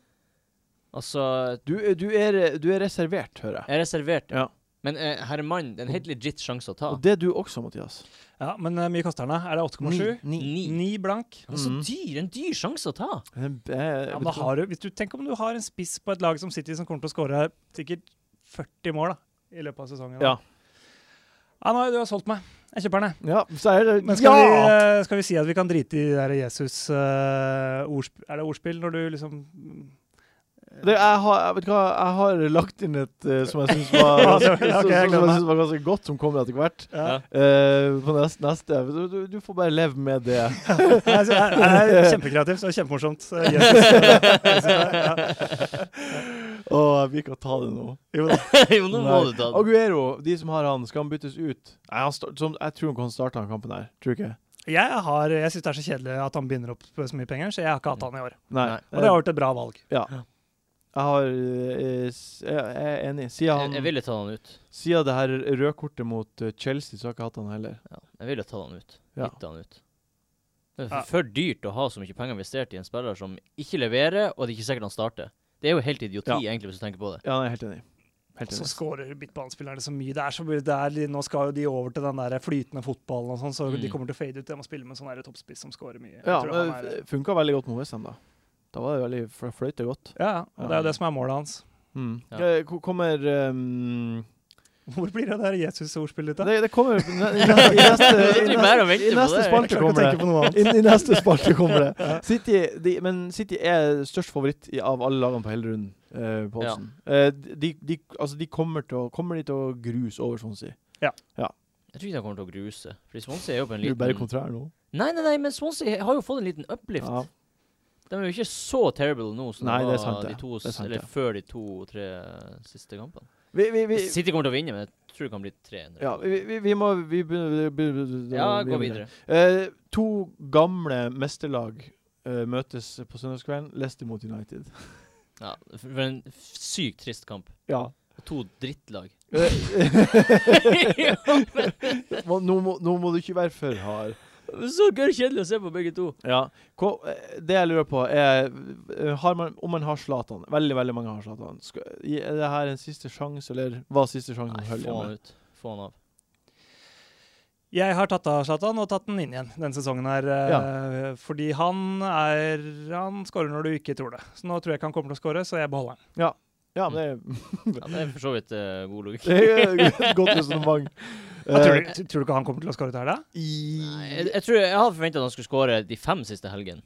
Altså
du, du, er, du er reservert, hører jeg.
Jeg er reservert.
Ja.
Men eh, herremann, det er en helt legit sjanse å ta.
Og det er du også, Mathias.
Ja, Men eh, mye koster den? da? Er det 8,7?
Ni. Ni.
Ni.
Ni blank.
Han er Så
Mhm.
dyr! En dyr sjanse å ta.
Eh, eh, vet
Ja, men da
du hva?
har du, hvis du tenker om du har en spiss på et lag som City som kommer til å skåre sikkert 40 mål da, i løpet av sesongen. da.
Ja.
Ja, nei, du har solgt meg. Jeg kjøper den, jeg.
ja, så er det
Men skal,
Ja!
vi, eh, skal vi si at vi kan drite i de der Jesus eh, ordsp Er det ordspill når du liksom
Det, jeg, har, jeg vet hva, jeg har lagt inn et eh, som jeg syns var,
Ja,
som,
ok, jeg
som jeg
gleder meg.
synes var ganske godt, som kommer etter hvert.
Ja.
Eh, på nest, neste. Du, du, du får bare leve med det.
Nei, så Altså, er- er Kjempekreativt og kjempemorsomt. eh, Jesus. Ja.
Å, jeg vil ikke ta det nå.
Jo da.
jo, nå må
Nei.
du ta den.
Aguero, de som har han, skal han byttes ut? Nei, han start, som, jeg tror han kan starte den kampen her. Tror du ikke?
Jeg, har- jeg syns det er så kjedelig at han binder opp så mye penger, så jeg har ikke hatt han i år.
Nei. Eh,
Nei.
Og det har vært et bra valg.
Jeg har eh, s- Jeg er enig.
Jeg,
Siden,
jeg
han,
ville ta han ut.
siden det her røde kortet mot eh, Chelsea, så har jeg ikke hatt han heller.
Ja, jeg ville ta han ut.
Ja.
Hitte han ut. Det er
Ja.
for, for dyrt å ha så mye penger investert i en spiller som ikke leverer, og det er ikke sikkert han starter. Det er jo helt idioti,
Ja.
egentlig, hvis du tenker på det.
Ja, nei, jeg er helt enig. Helt
Så
enig.
skårer midtbanespillerne så mye. Det er så mye det er, li- nå skal jo de over til den der flytende fotballen og sånn, så de
Mm.
kommer til å fade ut. De må spille med en sånn der toppspiss som skårer mye. Jeg
Ja,
tror
men
han er,
det funka veldig godt mot Westham, da. Da var det veldig fl- fløyte godt.
ja, ja, og det er jo det som er målet hans.
Mm.
Ja.
Eh, ko- kommer ehm,
Hvor blir det der Jesus-ordspillet ditt, da?
det, det kommer i ne- i neste, i neste,
egentlig
i
bare å
neste, i
vente på
neste
det.
Jeg
spalte
klarer ikke å
kommer det.
tenke på noe annet.
Inn i neste spalte kommer det. City, de, men City er størst favoritt i, av alle lagene på hele runden. eh, på
Ja.
oddsen. Eh, de, de, altså, de kommer, til å, kommer de til å gruse over, sånn å si.
Jeg tror ikke han kommer til å gruse. Fordi Swansea er jo på en
Du er bare
liten
kontrær nå.
Nei, nei, nei, men Swansea har jo fått en liten uplift.
Ja.
De er jo ikke så terrible nå som
Nei,
de
det
var
er sant
de
det.
to, s-
Det er sant
eller
det.
før de to-tre siste kampene.
Vi, vi, vi,
City kommer til å vinne, men jeg tror det kan bli 300.
ja, vi, vi, vi må vi begynner, vi begynner-
Ja,
vi
gå
begynner.
videre.
Eh, to gamle mesterlag eh, møtes på søndagskvelden. Leicester mot United.
Ja, for for en f- sykt trist kamp.
Ja.
To drittlag.
Eh, nå, må, nå må du ikke være for hard.
Så gørr kjedelig å se på begge to.
Ja. Hva, eh, det jeg lurer på, er eh, har man, om man har Zlatan. Veldig veldig mange har Zlatan. Skal- i- Er det her en siste sjanse, eller var siste sjanse?
Nei,
å holde
få han
med?
ut. Få han av.
Jeg har tatt av Zlatan og tatt den inn igjen denne sesongen her. eh, Fordi han er Han skårer når du ikke tror det. Så nå tror jeg ikke han kommer til å skåre, så jeg beholder han.
Ja, men
Ja, det er for så vidt eh, god logikk.
det, det er et godt resonnement.
Hva Tror
Eh,
du, tror du ikke han kommer til å skåre til helga?
Nei,
i-
jeg, jeg tror jeg hadde forventa at han skulle skåre de fem siste helgene.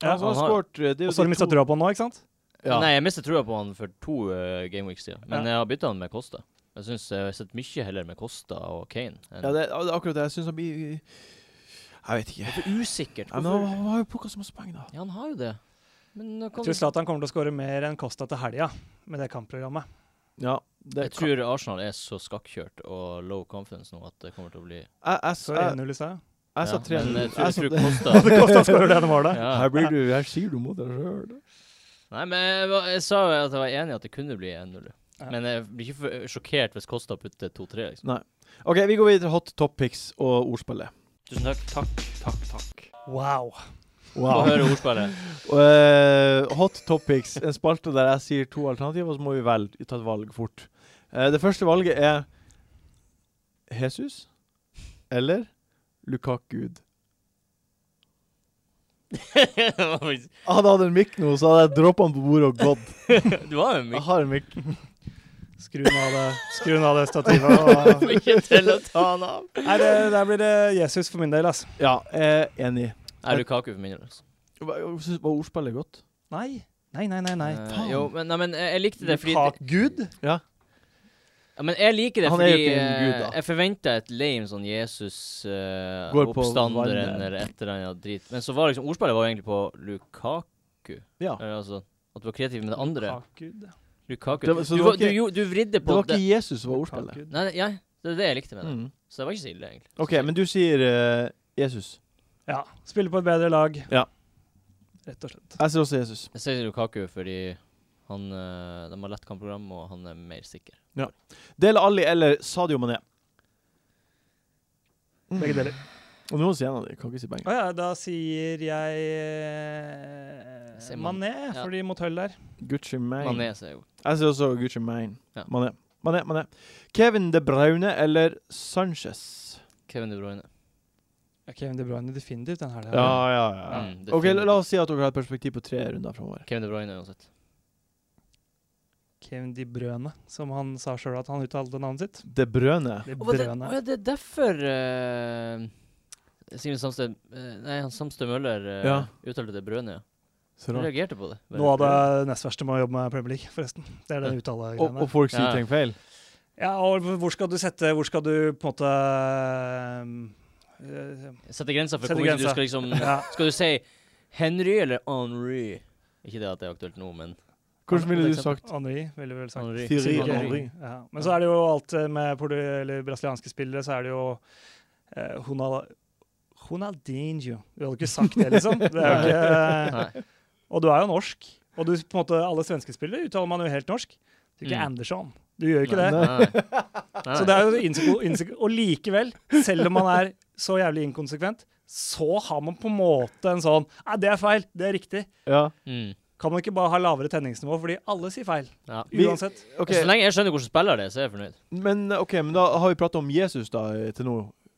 Ja, så han
Altså, han har-
skåret, eh, det er jo
Og så
de
har de mista
to-
trua på han nå, ikke sant?
Ja.
Nei, jeg mista trua på han for to eh, gameweeks siden, men
Ja.
jeg har bytta han med Costa. Jeg syns jeg har sett mye heller med Costa og Kane. enn-
Ja, det er det er akkurat det. Jeg syns han blir Jeg vet ikke.
det er for usikkert.
Ja, men
Hvorfor-
han han har jo plukka så masse poeng, da.
Ja, han har jo det. Men nå
Jeg
kan
tror Zlatan kommer til å skåre mer enn Costa til helga med det kampprogrammet.
Ja, det
Jeg tror Arsenal er så skakkjørt og low confidence nå at det kommer til å bli
Jeg, jeg,
Så
jeg,
1-0 i seg.
jeg sa
Ja,
tre
Men eh, jeg tror,
jeg sa-
jeg tror Costa
Det kosta skårer det ene målet.
ja.
blir du, her sier du mot deg sjøl.
Nei, men jeg, var- jeg sa jo at jeg var enig i at det kunne bli 1-0.
Ja.
Men jeg blir ikke for- sjokkert hvis Costa putter 2-3, liksom.
OK, vi går videre til hot topics og ordspillet.
Tusen takk. Takk, takk, takk.
Wow.
Få høre ordspillet.
Og, eh, hot topics, en spalte der jeg sier to alternativer, og så må vi velge ta et valg fort. Eh, det første valget er Jesus eller Lukak-Gud.
Det var faktisk-
Ah, Hadde jeg hatt en mikk nå, så hadde jeg droppa han på bordet og gått.
du har jo en
Jeg
mikrofon
har en mikk.
Skru den av det, skru den av det stativet. Og...
ikke til å ta han av.
Nei, det, der blir det Jesus for min del, altså.
Ja, eh, enig.
Er du kake for min del? altså?
Hva- jeg synes- Var ordspillet godt?
Nei. Nei, nei, nei. nei.
Eh, jo, men, nei, men eh, jeg jeg likte det fordi
Lukaku- Gud?
ja, Men jeg liker det
Han er jo
fordi
ikke en gud, da.
eh, jeg forventa et lame sånn Jesus-oppstander
Går på vannet.
eller et eller annet drit. Men så var liksom ordspillet var jo egentlig på Lukaku.
Ja.
Eller, altså, at du var kreativ med det andre.
Lukaku, det.
Lukaku.
Det var- så
du,
det var
var- du,
ikke-
jo- du vridde
Det
på
var ikke Jesus som var ordspillet.
Lukaku.
Nei, nei, ja, det er det jeg likte med det.
Mm.
Så det var ikke så ille, egentlig.
OK, men du sier eh, Jesus.
Ja. Spille på et bedre lag.
Ja.
Rett og slett.
Jeg sier også Jesus.
Jeg sier Lukaku fordi han, eh, de har lett kampprogram, og han er mer sikker.
Dele Alli eller Sadio Mané? Mm.
Begge deler.
Og du må si en av dem. Kan ikke si begge.
Å ja, da sier jeg eh,
Sier man-
Mané,
ja.
fordi mot Hull der.
Gucci Mane.
Mané sier jo
Jeg sier også Gucci Mane.
Ja.
Mané. Mané, Mané. Kevin De Braune eller Sanchez?
Kevin De Bruyne.
Ja, Kevin De Bruyne definitivt den her.
Ja, ja, ja.
Mm,
OK,
definitivt.
la la oss si at dere har et perspektiv på tre runder framover.
Kevin De Bruyne uansett.
Kevin De Bruyne, som han sa sjøl at han uttalte navnet sitt.
De Brøne.
De
Å, det,
Bruyne.
å, ja, det er derfor eh, Simen Samsted eh, Nei, han Samsted Møller eh,
Ja.
uttalte det Brøne, ja.
Så
Han
rart.
reagerte på det.
Noe av det nest verste med å jobbe med Premier League, forresten. Det er
Og,
den
og
uttalegreiene.
folk sier
Ja.
ting feil.
Ja, og hvor skal du sette Hvor skal du på en måte eh,
Sette grenser for
Sette
hvor mye du
grenser.
skal liksom
Ja.
Skal du si Henry eller Henry? Ikke det at det er aktuelt nå, men
Hvordan ville
For
du
eksempel.
sagt
Henri, veldig vel sagt.
Henry.
Thierry
Simen
Henry.
Ja. Men så er det jo alt eh, med portu- eller brasilianske spillere, så er det jo eh, Ronal- Ronaldinho. Du hadde ikke sagt det, liksom. Det er jo ikke, eh,
Nei.
og du er jo norsk. Og du, på en måte, alle svenske spillere uttaler man jo helt norsk. Du er ikke
Mm.
Andersson. Du gjør jo ikke det.
Nei. Nei.
Så det er jo innsikt, Og likevel, selv om man er så jævlig inkonsekvent, så har man på en måte en sånn Nei, det er feil. Det er riktig.
Ja.
Mm.
Kan man ikke bare ha lavere tenningsnivå fordi alle sier feil?
Ja. Altså,
Vi-
Uansett.
OK,
Så lenge jeg skjønner hvordan spiller det, så er jeg fornøyd.
men, ok, men da har vi prata om Jesus da eh, til nå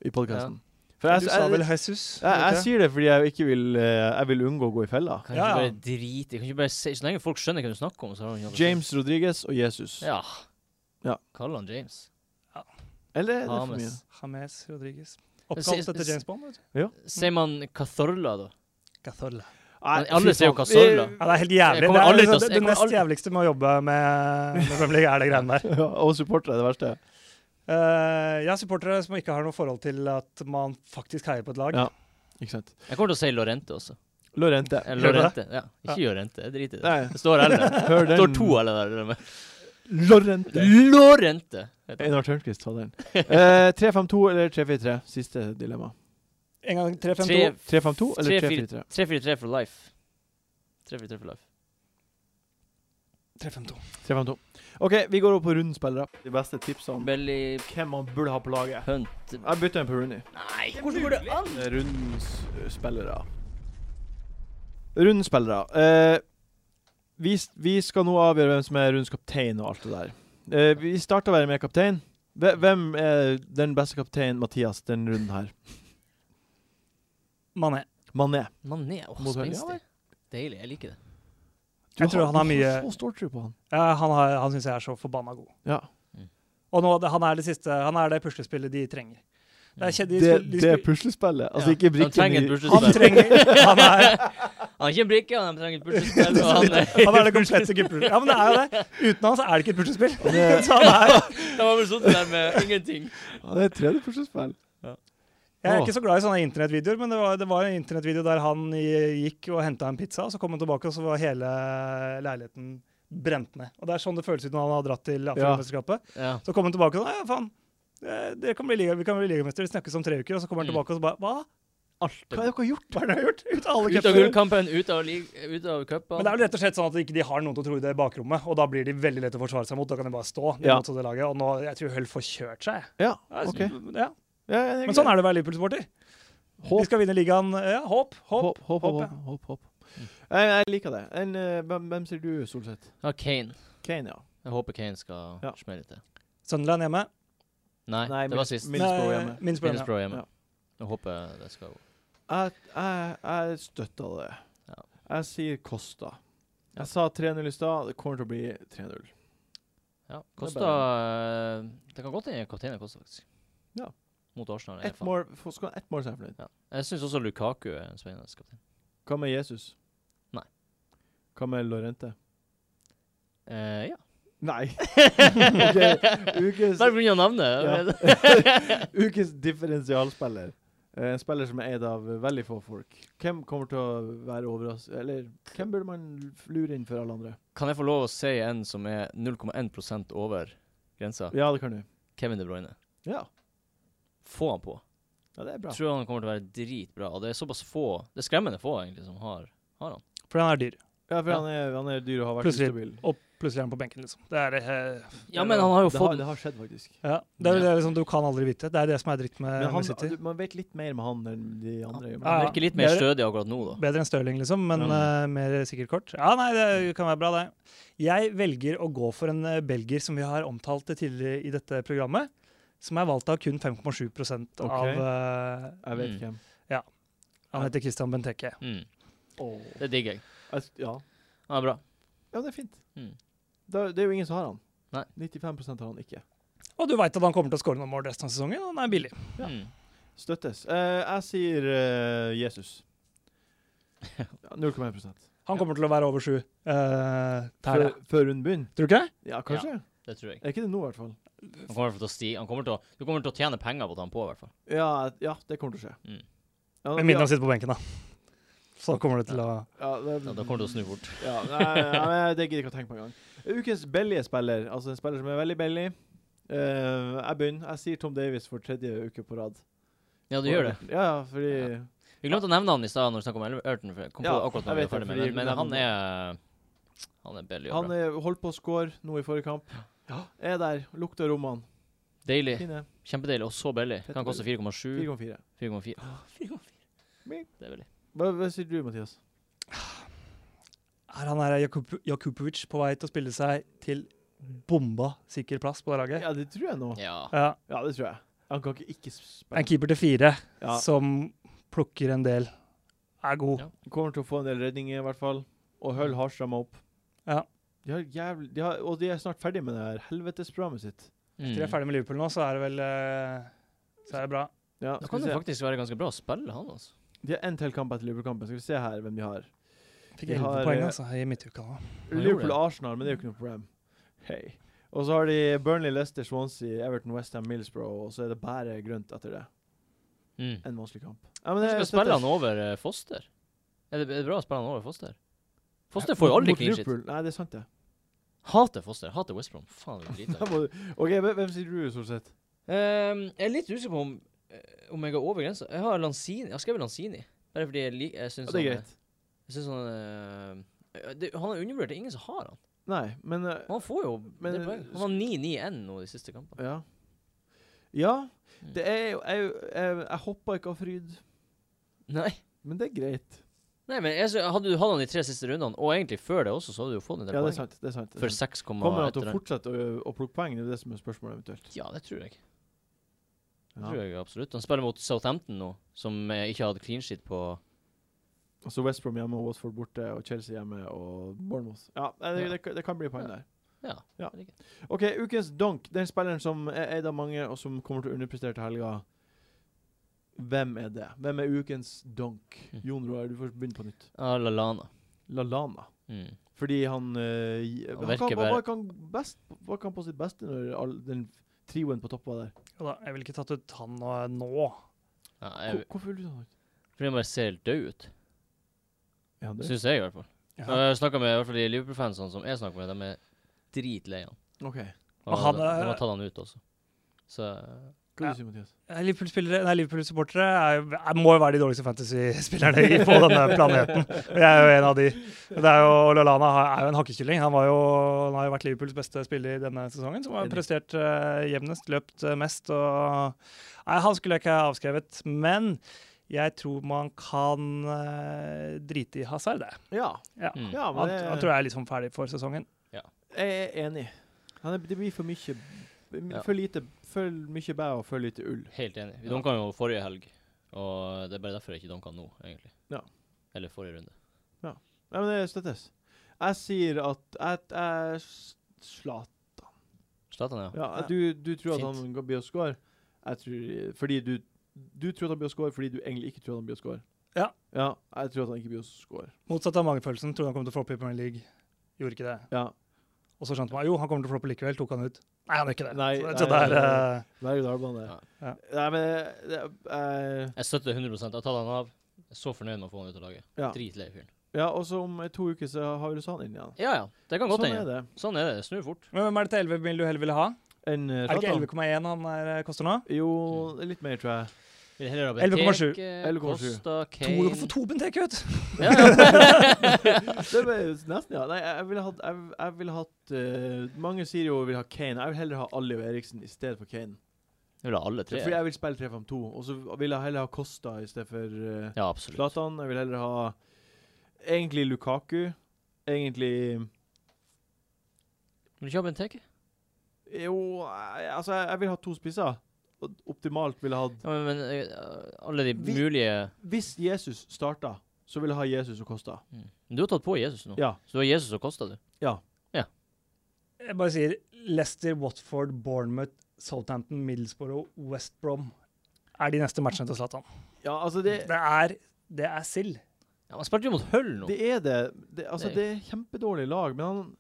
i podkasten. For jeg,
du sa
jeg,
vel
jeg,
Jesus?
jeg, sier det fordi jeg ikke vil eh, Jeg vil unngå å gå i fella.
Ja,
Kan ikke
ja.
bare drite Kan ikke bare si Så lenge folk skjønner hva du snakker om, så har du ikke noe å si.
James Rodriguez og Jesus.
Ja.
Ja.
Kall han James.
Eller er det for mye?
Hames.
James Rodriguez.
Si-
Oppkalt etter James Bond. vet du.
Sier man Cathorla, da?
Nei,
Men alle
fy
ser jo
faen.
Cazorla.
Vi-
Ja, det er helt jævlig.
Jeg
Det,
kommer
er,
aldri til å
liksom,
se-
det,
jeg
det
kommer
nest
aldri-
jævligste med å jobbe med, med Premier League, er det greiene der.
Ja, og supportere er det verste.
Eh, jeg har supportere som ikke har noe forhold til at man faktisk heier på et lag.
Ja. Ikke sant.
Jeg kommer til å si Lorente også.
Lorente.
Eller
Gjør du
Lorente. Ja. Ikke Lorente, jeg driter i det.
Nei,
Det står L der.
hør
Det
den.
står to L der. eller?
Lorente.
Lorente! heter det.
Einar Tørnquist sa den. Eh, 352 eller 343? Siste dilemma.
En gang 3-5-2.
Tre-
352 eller
343?
343?
343 for life. 343 for life.
3-5-2.
352. OK, vi går over på rundens spillere. De beste tipsene om
Belly
hvem man burde ha på laget.
Hunt
Jeg bytter en på Rooney.
Nei, hvordan går det an?
Rundens eh, spillere. Rundens spillere. Eh, vi, s- vi skal nå avgjøre hvem som er rundens kaptein og alt det der. Eh, vi starter bare med kaptein. Hve- Hvem er den beste kapteinen, Mathias, den runden her?
Mané.
Mané.
Mané og
Mot Belgia,
spenstig. Deilig. Jeg liker det.
Du
Jeg tror han har
du
mye-
Så stor tro på han.
Ja, han har- han syns jeg er så forbanna god. Mm.
Ja.
Og nå, han er det siste, han er det puslespillet de trenger. Det er kjed- de
Det,
spi- de
det
spi-
puslespillet. Altså
Ja.
ikke
Han
brikken
trenger et
han
bursdagsspill.
trenger han er,
Han er ikke en brikke, han trenger et bursdagsspill. og han er-
han er det komplette gubbepuslespillet. Ja, men det er jo det. Uten han så er det ikke et puslespill.
Han er-
Så han er,
Han var vel sittet der med ingenting.
Ja, det er et tredje puslespill.
jeg er ikke så glad i sånne internettvideoer, men det var, det var en internettvideo der han i- gikk og henta en pizza, og så kom han tilbake, og så var hele leiligheten brent ned. Og det er sånn det føles ut når han har dratt til Afrikamesterskapet.
Ja.
Så kom han tilbake og sa ja, faen, eh, det kan bli liga, vi kan bli ligamester, vi snakkes om tre uker. Og så kommer han
Mm.
tilbake og så bare hva?
Alt
Hva er det dere har gjort?
Hva er det jeg har gjort? Ut av alle
Ut av
cupene.
gullkampen, ut av, lig- ut av cupen.
Men det er vel rett og slett sånn at ikke de har noen til å tro det i bakrommet, og da blir de veldig lett å forsvare seg mot. Da kan de bare stå
Ja.
mot det laget. Og nå, jeg tror Hull får kjørt seg.
Ja,
Ja, altså,
OK.
Ja.
Ja, ja, det
Men sånn er det å være Liverpool-supporter. De
Håp,
skal vinne ligaen. Ja, håp,
håp,
håp.
håp.
håp,
håp,
ja.
håp, håp. Jeg, jeg liker det. En, eh, hvem, hvem sier du, Solseth?
Ja, Kane.
Kane, ja.
Jeg håper Kane skal
Ja.
smelle til.
Sunderland hjemme.
Nei,
Nei,
det
men-
var sist.
men- Middlesbrough hjemme.
Nei, Middlesbrough hjemme.
Middlesbrough hjemme.
Ja.
Jeg håper det skal gå.
Jeg, jeg, jeg støtter det.
Ja.
Jeg sier Costa.
Ja.
Jeg sa 3-0 i stad. Det kommer til å bli 3-0.
Ja,
Det er
Kosta Det kan godt hende kapteinen koster, faktisk.
Ja.
Mot Arsenal. er
Ett
faen-
mål, få- skal han ett mål, så er jeg fornøyd.
Jeg syns også Lukaku er en spennende kaptein.
Hva med Jesus?
Nei.
Hva med Lorente?
Eh, ja.
Nei.
Bare
ukes,
på grunn av navnet.
Ja. ukes differensialspiller. Eh, En spiller som er eid av eh, veldig få folk. Hvem kommer til å være overrasket Eller hvem burde man f- lure inn for alle andre?
Kan jeg få lov å si en som er 0,1 over grensa?
Ja, det kan du.
Kevin De Bruyne.
Ja,
Få han på.
ja det er bra.
Jeg tror han kommer til å være dritbra. Og det er såpass få, det er skremmende få egentlig, som har, har han.
For han er dyr.
Ja, for
Ja.
Han, er, han er dyr og har vært
Plutselig.
ustabil.
Og plutselig er han på benken, liksom. Det er, eh,
Ja, men han har jo
Det har,
fått
det har skjedd, faktisk.
ja. det, er, det er liksom, Du kan aldri vite. Det er det som er dritt
Eh,
med,
Men han,
med City.
du, man vet litt mer med han enn de andre. gjør, men-
Han
Ja.
virker litt mer
Det er-
stødig akkurat nå, da.
Bedre enn Stirling, liksom, men
Ja.
eh, mer sikkert kort. Ja, nei, det kan være bra, det. Jeg velger å gå for en eh, belgier som vi har omtalt tidligere i dette programmet, som er valgt av kun 5,7 av
Ok.
eh,
Jeg vet
Mm.
hvem.
Han heter Christian Benteke.
Mm.
Åh.
Det digger jeg.
Jeg s- Ja.
Han er bra.
ja, det er fint.
Mm.
Da, det er jo ingen som har han.
Nei.
95 har han ikke.
Og du veit at han kommer til å skåre noen mål resten av sesongen, og han er billig.
Ja.
Mm.
Støttes. Eh, jeg sier eh, Jesus. Ja, 0,1
Han kommer til å være over sju. eh,
før,
der, ja.
før runden begynner.
Tror du ikke det?
Ja, kanskje.
Det tror jeg.
Er ikke det nå, i hvert fall?
Han kommer til å sti, han kommer til å, du kommer til å tjene penger på å ta han på, i hvert fall.
Ja, ja, det kommer til å skje.
Mm.
Ja,
Med mindre han sitter på benken, da. Så kommer det til å
ja, det,
Ja, da kommer du å snu fort.
Ja, nei, nei, nei, det gidder jeg ikke å tenke på engang. Ukens billige spiller, altså en spiller som er veldig billig. Eh, jeg begynner. Jeg sier Tom Davies for tredje uke på rad.
Ja, du gjør det.
Ja, ja, fordi
Vi glemte å nevne han i stad når vi snakket om Ele- Everton. for jeg Kom på
Ja,
akkurat
jeg
når vi
vet
var
det,
ferdig med
fordi
den. Men
vi
han
nevnte
er Han er belly og
han
bra.
eh, holdt på å score nå i forrige kamp. Er der. Lukter rommene.
Deilig.
Fine.
Kjempedeilig. Og så belly. Kan koste 4,7.
4,4.
4,4. Åh, 4,4.
Bing.
Det er veldig.
Hva, hva sier du, Mathias?
Er han her Jakub Jakubovic på vei til å spille seg til bomba sikker plass på det laget?
Ja, det tror jeg nå.
Ja.
Ja.
Ja, det tror jeg. Han kan ikke ikke
En
spille.
keeper til fire
Ja,
som plukker en del, er god.
Ja.
kommer til å få en del redninger, i hvert fall. Og Hull har stramma opp.
Ja.
De har jævlig, de har, og de er snart ferdig med det her helvetesprogrammet sitt.
Mm.
Etter jeg er ferdig med Liverpool nå, så er det vel eh, Så er det bra.
Ja,
Mm. Da
skal
kan
vi
det
se.
faktisk være ganske bra å spille, han, altså.
De har én til kamp etter Liverpool-kampen. Skal vi se her hvem de har.
Fikk
Vi
11
har,
poeng
eh,
altså, i midtuka nå.
gjorde det.
Liverpool-Arsenal, men det er jo ikke noe problem. Hei. Og så har de Burnley, Leicester, Swansea, Everton, Westham, Millsbrough, og så er det bare grønt etter det.
Mm.
En vanskelig kamp. Ja, men det
Skal
er-
vi spille han over eh, Foster? Er det, er det bra å spille han over Foster? Foster får jo aldri
Mot
clean shit.
Liverpool. Nei, det er sant, det.
Hater Foster. Hater West Brom. Faen, det er
Da
dritlag.
må du- OK, hvem, hvem sier du, Solseth?
Ehm, jeg er litt usikker på om, eh, om jeg går over grensa. Jeg har Lanzini. Jeg har skrevet Lanzini. Bare fordi jeg, lik- jeg
Ja,
syns
det er greit.
Jeg synes han, eh, det, han er undervurdert. Det er ingen som har han.
Nei, men eh,
Og han får jo
Men,
det poeng. Han har 9-9-1 nå de siste kampene.
Ja. Ja.
Mm.
Det er jo Jeg, jeg, jeg hoppa ikke av fryd,
Nei.
men det er greit.
Nei, men jeg, sy- hadde du hatt han de tre siste rundene, og egentlig før det også, så hadde du jo fått en del
Ja, det er
poeng.
sant. det er sant. det er
For
sant.
6,
Kommer han til å
etter-
fortsette å, å plukke poeng? Det er det som er spørsmålet, eventuelt.
Ja, det tror jeg. Det
Ja.
tror jeg absolutt. Han spiller mot Southampton nå, som eh, ikke hadde clean shit på
Og så West Brom hjemme, og Watford borte, og Chelsea hjemme, og Bournemouth. Ja, nei, det,
Ja.
det, det kan bli poeng
Ja.
der.
Ja.
Ja.
det er greit.
OK, ukens donk. Den spilleren som er eid av mange, og som kommer til å underprestere til helga. Hvem er det? Hvem er ukens donk?
Mm.
Jon Roar, du får begynne på nytt.
Ah, Lallana.
Lalana.
Mm.
Fordi han eh, gi-
Han
han
virker
kan,
bare-
Hva kan best Hva kan på sitt beste når all, den trioen på topp var der?
Jo da, jeg ville ikke tatt ut han nå. nå.
Ja,
Hvor-
jeg,
Hvorfor vil du sånn?
fordi han bare ser helt død ut.
Ja, det.
Syns jeg, i hvert fall.
Ja.
Og
Eh,
Jeg snakket med i hvert fall de Liverpool-fansene som jeg snakker med, de er dritlei han.
OK.
Og
Og han
de, de
er-
har tatt han ut også. Så
Hva
Ja.
du sier du, Mathias?
Eh, Liverpool-spillere- nei, Liverpool-supportere Liverpool må jo være de dårligste fantasy-spillerne i- på denne planeten. Og Jeg er jo en av de. Det er jo, Lallana har- er jo en hakkekylling. Han, var jo, han har jo vært Liverpools beste spiller denne sesongen, som har
Enig.
prestert eh, jevnest, løpt eh, mest. Og, nei, han skulle jeg ikke ha avskrevet. Men jeg tror man kan eh, drite i Hazard, det.
Ja.
Ja.
mm.
ja men
Han,
det,
han tror jeg er liksom ferdig for sesongen.
jeg er enig. Han er, det blir for mye
Ja.
For lite For mye bæ og for lite ull.
Helt enig. Vi
Ja.
dunka jo forrige helg, og det er bare derfor jeg ikke dunka nå, egentlig.
Ja.
Eller forrige runde.
Nei, men det støttes. Jeg sier at Jeg, jeg s- slat.
Zlatan, ja.
Ja, du, du tror at
Fint.
han går- blir å score. Jeg tror Fordi du Du tror at han blir å score fordi du egentlig ikke tror at han blir å score.
Ja.
ja. Jeg tror at han ikke blir å score.
Motsatt av magefølelsen. Trodde han kom til å floppe i Premier League. Gjorde ikke det.
Ja.
Og så skjønte man jo, han kommer til å floppe likevel. Tok han ut. Nei, han gjør ikke det.
Nei,
så,
nei,
så det er,
nei,
eh,
Berg-og-dal-bane.
Ja.
Ja.
Nei, men eh, det, eh,
Jeg støtter 100 Jeg har tatt han av. Jeg er så fornøyd med å få han ut av laget.
Ja.
Dritlei fyren.
ja, og så om eh, to uker så har vi Rusan inn igjen.
Ja ja, det kan godt
Sånn er
hende.
det.
Sånn er det. Det snur fort.
Men hvem er det til 11 mil du heller ville ha?
En, eh,
Er det ikke
Zlatan?
11,1 han er, eh, koster nå?
Jo, litt mer, tror jeg.
Vil heller ha
11,7.
Eh,
Benteke,
11,7.
Costa,
To, du kan
Kane
få to Benteke ut!
Ja, ja.
Det ble nesten, ja. Nei, jeg jeg ville hatt, jeg, jeg ville hatt eh, Mange sier jo jeg vil ha Kane. Jeg vil heller ha Alli og Eriksen i stedet for Kane.
Jeg vil ha alle tre.
Fordi jeg vil spille 3-5-2. Og så vil jeg heller ha Costa i stedet for eh,
Ja, absolutt.
Zlatan. Jeg vil heller ha egentlig Lukaku. Egentlig
Vil du ikke ha Benteke?
Jo, jeg- altså, jeg jeg vil ha to spisser. Og Optimalt ville jeg hatt
Ja, men, men eh, alle de
Vi-
mulige
Hvis Jesus starta, så ville jeg ha Jesus og Kosta.
Mm. Du har tatt på Jesus nå.
Ja.
Så du har Jesus og Kosta, du.
Jeg bare sier Leicester, Watford, Bournemouth, Southampton, Middlesbrough, West Brom er de neste matchene til Zlatan.
ja, altså
Det,
det
er, det er sild.
Ja, man spilte jo mot Hull nå.
Det er det. det altså,
Det-
det er kjempedårlig lag, men han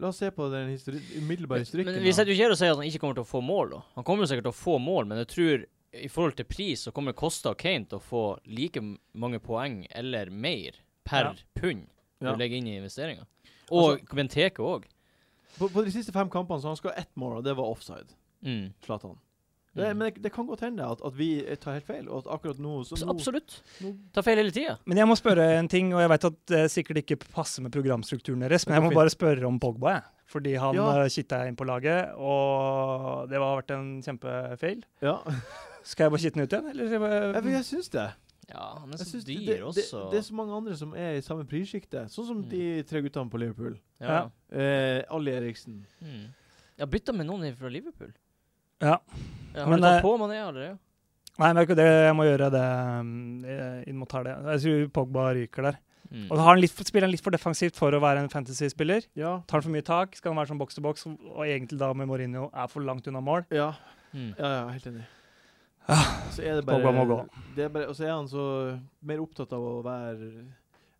La oss se på den histori umiddelbare historikken.
men vi
da.
sitter jo ikke her og sier at han ikke kommer til å få mål. Da. Han kommer jo sikkert til å få mål, men jeg tror i forhold til pris så kommer Kosta og Kane til å få like m- mange poeng eller mer
Ja.
per pund
Ja. Altså-
du legger inn i investeringa. Og Benteke òg.
på, på de siste fem kampene så han skal ha ett mål, og det var offside.
Mm.
Zlatan. Det,
Mm.
men det, det kan godt hende at, at vi tar helt feil, og at akkurat nå så
Så
nå,
Absolutt.
nå
Ta feil hele tida.
Men jeg må spørre en ting, og jeg vet at det sikkert ikke passer med programstrukturen deres, men jeg må bare spørre om Pogba, jeg. Fordi han
Ja.
ja. kitta inn på laget, og det har vært en kjempefeil.
Ja.
Skal jeg bare kitte den ut igjen, eller?
Jeg,
eh,
jeg syns det.
Ja, han er
Jeg
så
syns det, det,
dyr
det,
også.
det er så mange andre som er i samme prissjiktet, sånn som
Mm.
de tre guttene på Liverpool.
ja.
Eh, Ali Eriksen.
Mm. Jeg bytta med noen fra Liverpool.
Ja.
Ja, har
Men,
du tatt
eh,
på Mané allerede?
Nei, men det er ikke det. jeg må gjøre det mm, eh, inn mot helga. Jeg tror Pogba ryker der.
Mm.
Og da har han litt, for- spiller han litt for defensivt for å være en fantasy-spiller.
Ja.
Tar han for mye tak, skal han være som boks til boks, og egentlig da med Mourinho er for langt unna mål.
Ja.
Mm.
Ja, ja, helt enig. Så er det bare,
Pogba Ah, må gå.
Det er bare, og så er han så mer opptatt av å være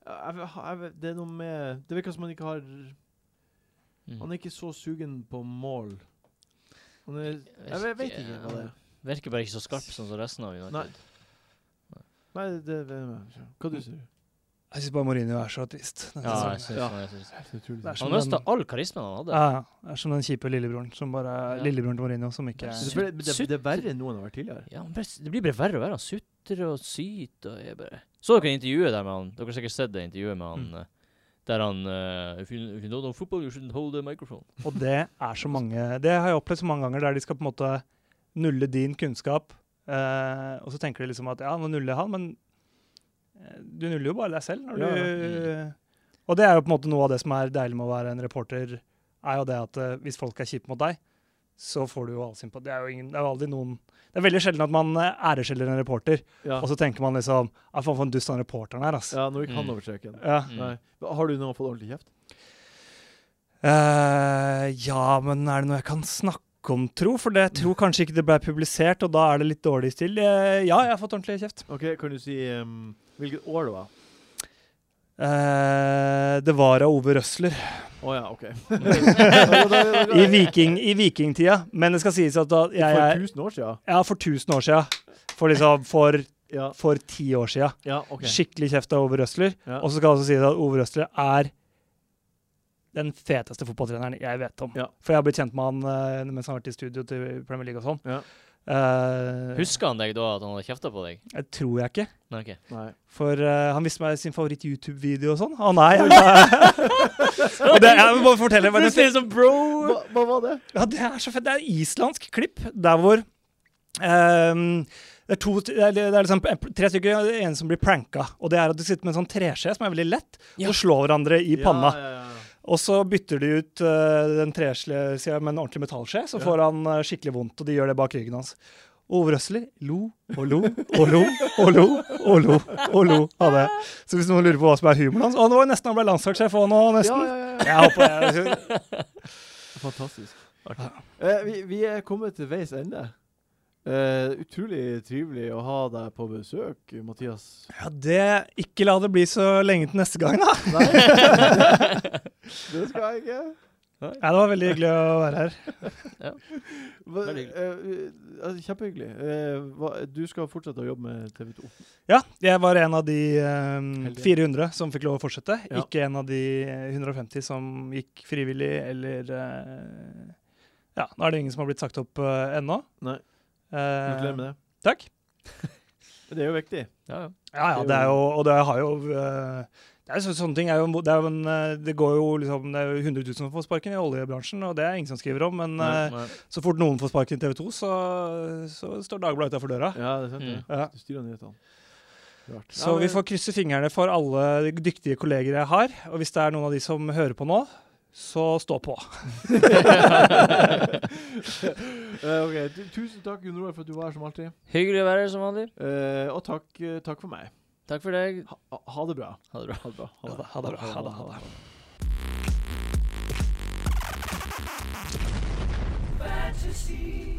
jeg, vet- jeg, vet- Det er noe med Det virker som han ikke har
Mm.
Han er ikke så sugen på mål. Han er, jeg, vet- jeg vet ikke hva det er.
Virker bare ikke så skarp sånn som resten av United.
Nei. Nei, det, det, det Hva du sier
Jeg syns bare Mourinho er så trist. denne sesongen.
Ja, jeg synes,
Ja.
det, jeg synes. det.
Helt utrolig.
Det er
Han
Som
mista
den-
all karismaen han hadde.
Ja, ja. Det er som den kjipe lillebroren som bare
Ja.
Lillebroren til Mourinho som ikke
Det, ble- det, det, er verre enn noen har vært tidligere.
Ja, han bare, s- det blir bare verre og verre. Han sutrer og syter og er bare Så dere intervjuet der med han? Dere har sikkert sett det intervjuet med
Mm.
han eh, der han eh, if, you, if you don't know football, you shouldn't hold the microphone.
Og det er så mange Det har jeg opplevd så mange ganger, der de skal på en måte nulle din kunnskap, eh, og så tenker de liksom at ja, nå nuller jeg han, men eh, du nuller jo bare deg selv når
Ja,
du
ja.
Og det er jo på en måte noe av det som er deilig med å være en reporter, er jo det at eh, hvis folk er kjipe mot deg, så får du jo all sympati. Det er jo ingen Det er jo aldri noen Det er veldig sjelden at man eh, æreskjeller en reporter,
Ja,
og så tenker man liksom Ja, faen for en dust han reporteren er, altså.
ja nå gikk han
Mm.
over streken.
Ja.
Mm.
Nei. Har du nå fått ordentlig kjeft?
Eh, ja, men er det noe jeg kan snakke om, tro? For det jeg tror kanskje ikke det ble publisert, og da er det litt dårlig stil. Eh, ja, jeg har fått ordentlig kjeft.
OK, kan du si um, hvilket år det var?
Eh, det var av Ove Røsler
Å ja, OK. I
i, viking, i vikingtida. Men det skal sies at da jeg,
For
jeg,
1000 år siden?
ja, for 1000 år sia. For liksom for,
Ja.
for ti år sia.
ja OK.
Skikkelig kjeft av Ove Røsler.
Ja.
Og så skal jeg også si at Ove Røsler er den feteste fotballtreneren jeg vet om.
Ja.
For jeg har blitt kjent med han eh, mens han har vært i studio til Premier League og sånn.
Ja.
Eh,
Husker han deg da at han hadde kjefta på deg?
Jeg tror jeg ikke.
Nei, ok.
Nei.
For eh, han viste meg sin favoritt-YouTube-video og sånn. Å nei! Jeg, og det, jeg må bare fortelle hva det,
Plutselig som bro!
Hva, hva var det?
ja, det er så fett. Det er islandsk klipp der hvor ehm, det er, to, det er, det er liksom tre stykker, og det er en som blir pranka. Og det er at du sitter med en sånn treskje som er veldig lett,
Ja.
og slår hverandre i panna.
Ja, ja, ja.
Og så bytter de ut eh, den treskjea med en ordentlig metallskje, så
Ja.
får han eh, skikkelig vondt, og de gjør det bak ryggen hans. Ove Røsler lo og lo og lo og lo og lo og lo av det. Så hvis noen lurer på hva som er humoren hans Å, det var jo nesten han ble landslagssjef òg nå, nesten.
Ja, ja, ja.
Jeg håper jeg
Fantastisk. Eh, vi, vi er kommet til veis ende. Eh, utrolig trivelig å ha deg på besøk, Mathias.
Ja, det, Ikke la det bli så lenge til neste gang, da.
Nei, det skal jeg ikke.
Ja, det var veldig hyggelig å være her.
Hva-
Veldig hyggelig.
eh, altså, kjempehyggelig. Eh, hva, du skal fortsette å jobbe med TV 2.
Ja, jeg var en av de eh,
Heldig.
400 som fikk lov å fortsette.
Ja.
Ikke en av de eh, 150 som gikk frivillig eller eh, Ja, nå er det ingen som har blitt sagt opp eh, ennå.
Nei.
Eh,
Gratulerer med det.
Takk.
Det er jo viktig.
Ja, ja.
Ja, ja, det er jo Og det har jo eh, det er jo så, sånne ting er jo, det, er jo en, eh, det går jo liksom Det er jo 100 000 som får sparken i oljebransjen, og det er ingen som skriver om, men eh,
Nei.
så fort noen får sparken i TV 2, så, så står Dagbladet utafor døra.
Ja, det er sant. det.
Mm.
Ja.
Du styrer nyhetene. Rart.
Så vi får krysse fingrene for alle de dyktige kolleger jeg har. Og hvis det er noen av de som hører på nå, så stå på.
Eh, ok, tu- Tusen takk, Gunn Roar, for at du var her som alltid.
Hyggelig å være her som vanlig.
Eh, og takk, eh, takk for meg.
Takk for deg.
Ha, ha det bra.
Ha det bra.
Ha det bra.
Ha det, ha det, bra, ha det, ha det.
fantasy.